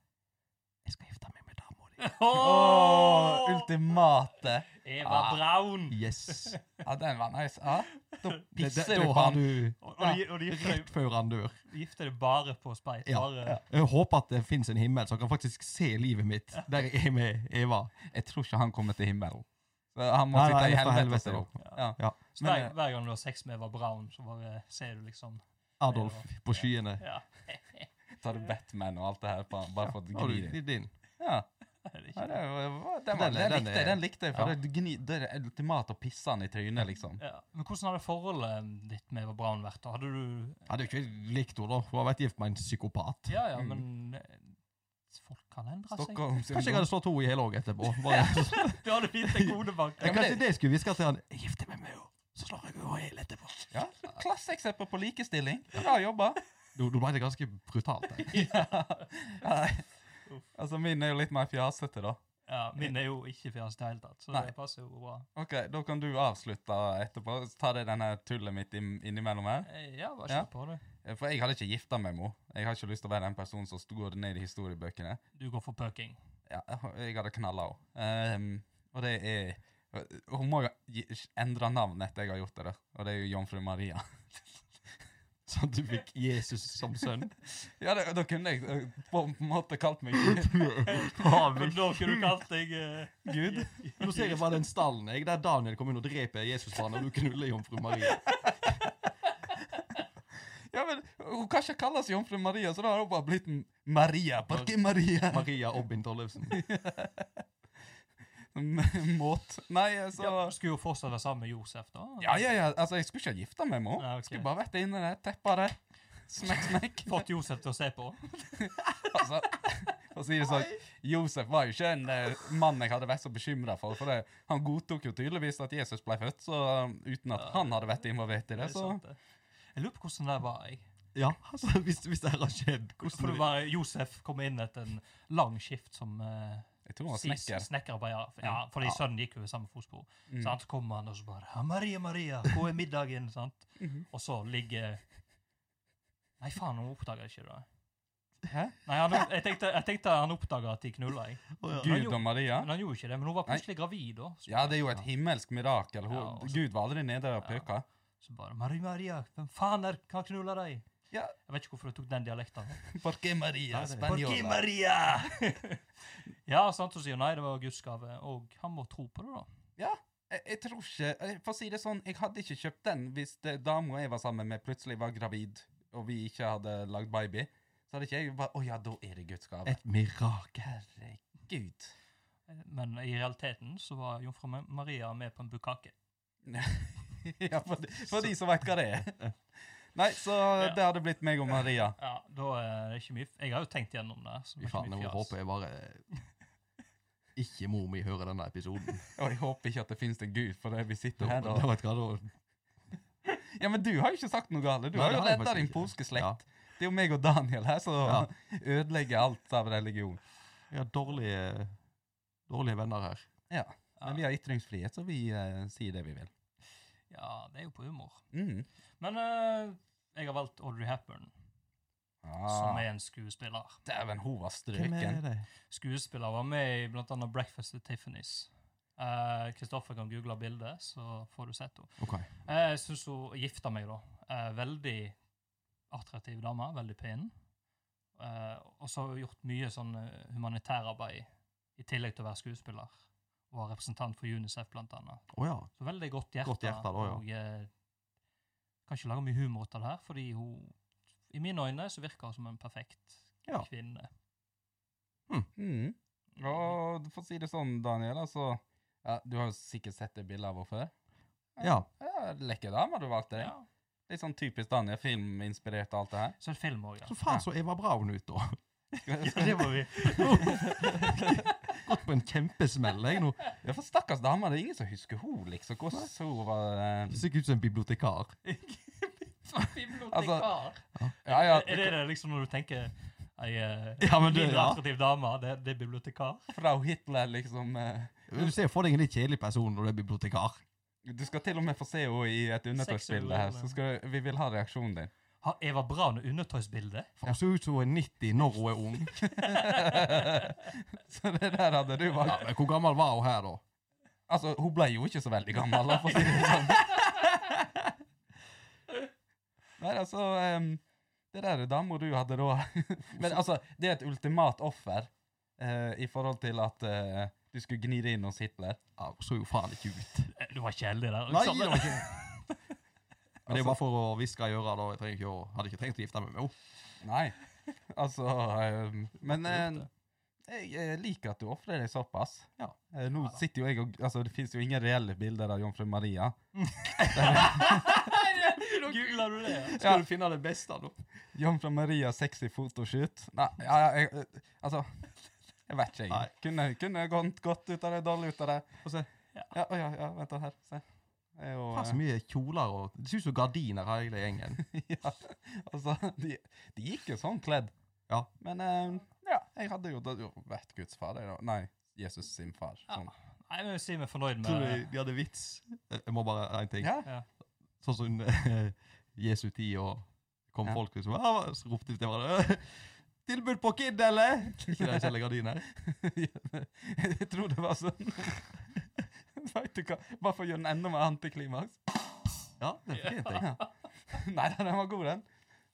Jeg skal gifte meg med dama di. Åh, ultimate! Eva Ah. Braun! Yes. Ja, den var nice. Ja. Da Det, det, pisser da du på har han. du Og, og, de, og de gifter deg- rett før han dør. gifter deg bare på speil. Ja, Bare, Jeg håper at det fins en himmel, så han kan faktisk se livet mitt der jeg er med Eva. Jeg tror ikke han kommer til himmelen. Så han må Nei, sitte nei, i jeg får helvete. helvete, tror jeg. Ja. Ja. Så Men, hver, eh, hver gang du har sex med Eva Braun, så bare ser du liksom Adolf på skyene. Ja, Tar du Batman og alt det her på han, bare for å Har gni du det? din? Ja. det er Ja, det ikke det. var- den, var, Den er- den, den likte jeg, er- den likte jeg, for ja. det, gni, det er ultimat å pisse han i trynet, liksom. Ja. Men hvordan hadde forholdet ditt med Eva Braun vært? da? Hadde du Hadde jo ikke likt henne, da. Hun har vært gift med en psykopat. Ja, ja, Mm. men eh, folk kan endre seg. Stockholm Kanskje jeg syndrom. hadde slått henne i hele òg etterpå. Bare, Du hadde fint en kodebank. Ja, men kanskje det- det jeg skulle hviske til han. Jeg gifter meg med henne, så slår jeg henne i hele etterpå. Ja. Klasseeksempel på likestilling. Bra jobba. Nå nå ble det ganske brutalt. Jeg. Ja. Nei. Altså, min er jo litt mer fjasete, da. Ja, min er jo ikke fjerst i det hele tatt, så Nei. det passer jo bra. Ok, da kan du avslutte etterpå. Så tar jeg denne tullet mitt inn- innimellom her. Eh, Ja, bare Ja. kjør på, du. Eh, For jeg hadde ikke gifta meg med henne. Jeg har ikke lyst til å være den personen som sto- går ned i historiebøkene. Du går for pøking. Ja, jeg har- jeg hadde knalla henne. Ehm, og det er Hun må jo gi- endre navn etter jeg har gjort det, da. Og det er jo Jomfru Maria. Sånn at du fikk Jesus som sønn. Ja, det, da kunne jeg eh, på en måte kalt meg Men da kunne du kalt deg eh, Gud. Nå ser jeg bare den stallen jeg, der Daniel kom inn og dreper Jesus for han, og du knuller jomfru Maria. Ja, men Hun kan ikke kalles Jomfru Maria, så da har hun bare blitt en Maria. Parke Maria. Maria Obbin Tollefsen. Måt. Nei, så ja, Skulle jo fortsatt være sammen med Josef, da. Ja, ja, ja. Altså, jeg skulle ikke ha gifta meg med henne. Ja, ok. Skulle bare vært inne der, teppa der. Smekk, smekk. Fått Josef til å se på. altså, for å si det sånn, Josef var jo ikke en eh, mann jeg hadde vært så bekymra for. for det, Han godtok jo tydeligvis at Jesus ble født, så um, uten at Ja. han hadde vært involvert i Det det. er så... sant, det. Jeg lurer på hvordan det var. jeg. Ja, altså, hvis, hvis det her har skjedd, For hvordan det vil- var Josef kom inn etter en lang skift som eh, Jeg tror han var sis- snekker. snekkerarbeider. Ja, fordi sønnen gikk jo i samme fotspor. Mm. Sant? Så kommer han og så bare «Ja, 'Maria, Maria, hvor er middagen?' sant? Mhm. Og så ligger Nei, faen, han oppdaga ikke det. Hæ? Nei, han, jeg, tenkte, jeg tenkte han oppdaga at de knulla, jeg. Å, ja. Han Gud gjorde- og Maria? Men han gjorde ikke det. Men hun var Nei. plutselig gravid, da. Så, Ja, det er jo et himmelsk mirakel. Hun, Ja, og så- Gud var aldri nede og Ja. pøka. så bare 'Maria, Maria, hvem faen er kan knulla deg?' Ja. Jeg vet ikke hvorfor jeg tok den dialekten. Porque Maria, Porque Maria! ja, sant, hun sier nei, det var Guds gave, og han må tro på det, da. Jeg, jeg tror ikke jeg- For å si det sånn, jeg hadde ikke kjøpt den hvis det- dama jeg var sammen med, plutselig var gravid, og vi ikke hadde lagd baby. Så hadde ikke jeg bare Å ja, da er det Guds gave. Et mirakel. Herregud. Eh, Men i realiteten så var jomfru Ma- Maria med på en bukkake. ja, for, de- for de som veit hva det er. Nei, så Ja. det hadde blitt meg og Maria. Ja, da eh, er det ikke mye f- Jeg har jo tenkt gjennom det. Så Fy det er faen, ikke mye jeg fjas. håper jeg bare eh, Ikke mor mi hører denne episoden. Og jeg håper ikke at det finnes en gud for det vi sitter her Da, da. vet du hva, da Ja, men du har jo ikke sagt noe galt. Du Nei, har det jo har jeg redda faktisk din ikke. polske slekt. Ja. Det er jo meg og Daniel her som ødelegger alt av religion. Jeg har dårlige, dårlige venner her. Ja. Ja. Men vi har ytringsfrihet, så vi eh, sier det vi vil. Ja, det er jo på humor. Mm. Men eh, jeg har valgt Audrey Hepburn, som Ah, er en skuespiller. Dæven, hun var strøken. det? Skuespiller var med i blant annet Breakfast at Tiffany's. Eh, Kristoffer kan google bildet, så får du sett henne. Ok. Eh, Jeg syns hun gifta meg, da. Eh, veldig attraktiv dame. Veldig pen. Eh, og så har hun gjort mye sånn eh, humanitærarbeid, i tillegg til å være skuespiller. Og var representant for UNICEF, blant annet. Å ja. Så veldig godt hjerte. Godt hjerte da, ja. Og eh, kan ikke lage mye humor ut av det her, fordi hun I mine øyne så virker hun som en perfekt Ja. kvinne. Mm. Og for å si det sånn, Daniel, altså ja, Du har jo sikkert sett det bildet av henne før. ja. Ja, Lekker dame du valgte. Ja. Litt sånn typisk Daniel, filminspirert og alt det her. Så er det film òg, ja. Så faen så Eva Braun ut, da. ja. Det var vi. Gått på en kjempesmell, jeg nå. Ja, for stakkars dame, det er ingen som husker hun liksom. Hvordan hun var eh, Det ser ikke ut som en bibliotekar. Altså, Bibliotekar. Ja, ja, Er det det liksom når du tenker ei eh, Ja, men det- liten, ja. attraktiv dame, det, det er bibliotekar? fra Hitler, liksom. eh, Du ser jo for deg en litt kjedelig person når du er bibliotekar. Du skal til og med få se henne i et undertøysbilde her, så skal du, vi vil ha reaksjonen din. Har Eva Braun undertøysbilde? For Hun ser ut som hun er 90 når hun er ung. så det der hadde du Ja, valgt. men Hvor gammel var hun her, da? Altså, hun ble jo ikke så veldig gammel, da, for å si det sånn. Nei, altså, em, det der er dama du hadde da. Men altså, det er et ultimat offer eh, i forhold til at eh, du skulle gni det inn hos Hitler. Ja, Hun så jo faen ikke ut. Eh, Du var ikke heldig der. Nei, Alexander. det var ikke Men det er bare for å hviske i øret. da. Jeg trenger ikke å, hadde ikke trengt å gifte meg med henne. Nei, altså, em, men Hvorfor gjorde eh, jeg eh, liker at du ofrer deg såpass. Ja. Eh, nå sitter jo jeg og, altså, det finnes jo ingen reelle bilder av Jomfru Maria. Googler du det? Skal du finne det beste, da? Jomfru Maria sexy photoshoot. Nei, ja, ja, jeg, eh, altså Jeg vet ikke, Nei. jeg. Kunne, kunne jeg gått godt ut av det, dårlig ut av det. Få se. Ja, å ja, ja, vent da her. Se. Det er jo Faen, så eh, mye kjoler og Det ser ut som gardiner, hele gjengen. ja, Altså, de, de gikk jo sånn kledd. Ja. Men eh, ja, jeg hadde jo, det hadde jo vært Guds far, jeg, da. Nei, Jesus sin far. Ja. Sånn. Nei, men jeg sier meg fornøyd Tror du med de hadde vits? Jeg må bare én ting. Ja. Ja. Sånn som eh, Jesu tid og kom Ja. folk liksom «Ah», Så ropte de til hverandre Tilbud på Kid, eller? Ikke det Kjell Gardiner? jeg tror det var sånn. Veit du hva? Bare for å gjøre den enda mer antiklimaks. Ja, det er fint, jeg. Nei da, den var god, den.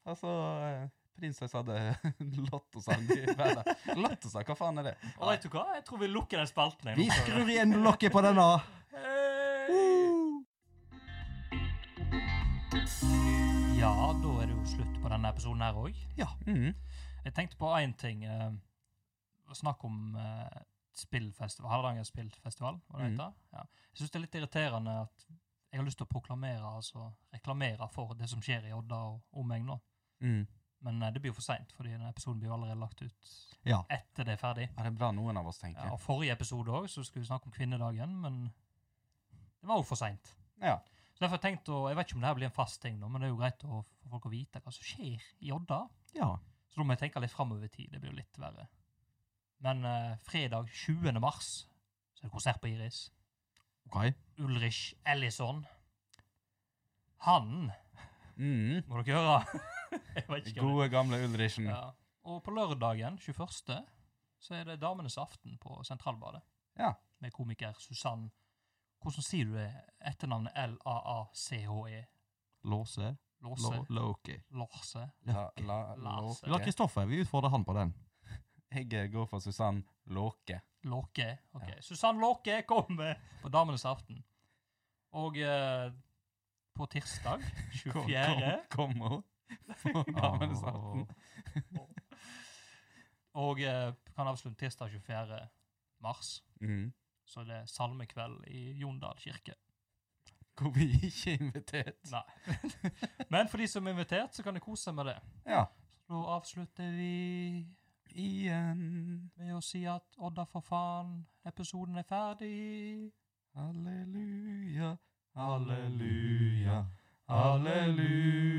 Altså, eh, prinsesse hadde lottosang i verden. Lottosang, hva faen er det? Og vet du hva? Jeg tror vi lukker den spalten. jeg nå. Vi skrur igjen lokket på denne. Ja, da er det jo slutt på denne episoden her òg. Mhm. Jeg tenkte på én ting. eh, snakk om eh, spillfestival, Hardanger spillfestival, hva det Mhm. heter. Ja. Jeg syns det er litt irriterende at mm. jeg har lyst til å proklamere, altså reklamere for det som skjer i Odda og omegn nå. Men eh, det blir jo for seint, fordi denne episoden blir jo allerede lagt ut Ja. etter det er ferdig. Ja, det er bra noen av oss tenker. Ja, og forrige episode òg, så skulle vi snakke om kvinnedagen, men det var jo for seint. Ja. Så derfor har jeg tenkt å, Jeg vet ikke om det her blir en fast ting, nå, men det er jo greit å, for folk å vite hva som skjer i Odda. ja. Så da må jeg tenke litt framover i tid. Det blir jo litt verre. Men eh, fredag 20. mars så er det konsert på Iris. OK. Ulrich Ellison. Han Mm. må dere høre. jeg vet ikke hva Gode, gamle Ulrichen. det ja. Og på lørdagen 21. så er det Damenes aften på Sentralbadet. Ja. Med komiker Susann Hvordan sier du det? Etternavnet L-A-A-C-H-E. Låse. E? Låse. Lå- Låke. Låse. La, la, Lars. Låke. Det var Kristoffer. Vi utfordrer han på den. Jeg eh, går for Susann Låke. Låke. ok. Susann Låke kommer på Damenes aften. Og eh, på tirsdag 24. Kom hun? Damenes aften. og eh, kan avslutte tirsdag 24. mars. Mm. Så er det salmekveld i Jondal kirke. Hvor vi ikke er invitert. Nei. Men for de som er invitert, så kan de kose seg med det. Ja. Så da avslutter vi Igjen. med å si at Odda for faen, episoden er ferdig. Halleluja, halleluja, halleluja.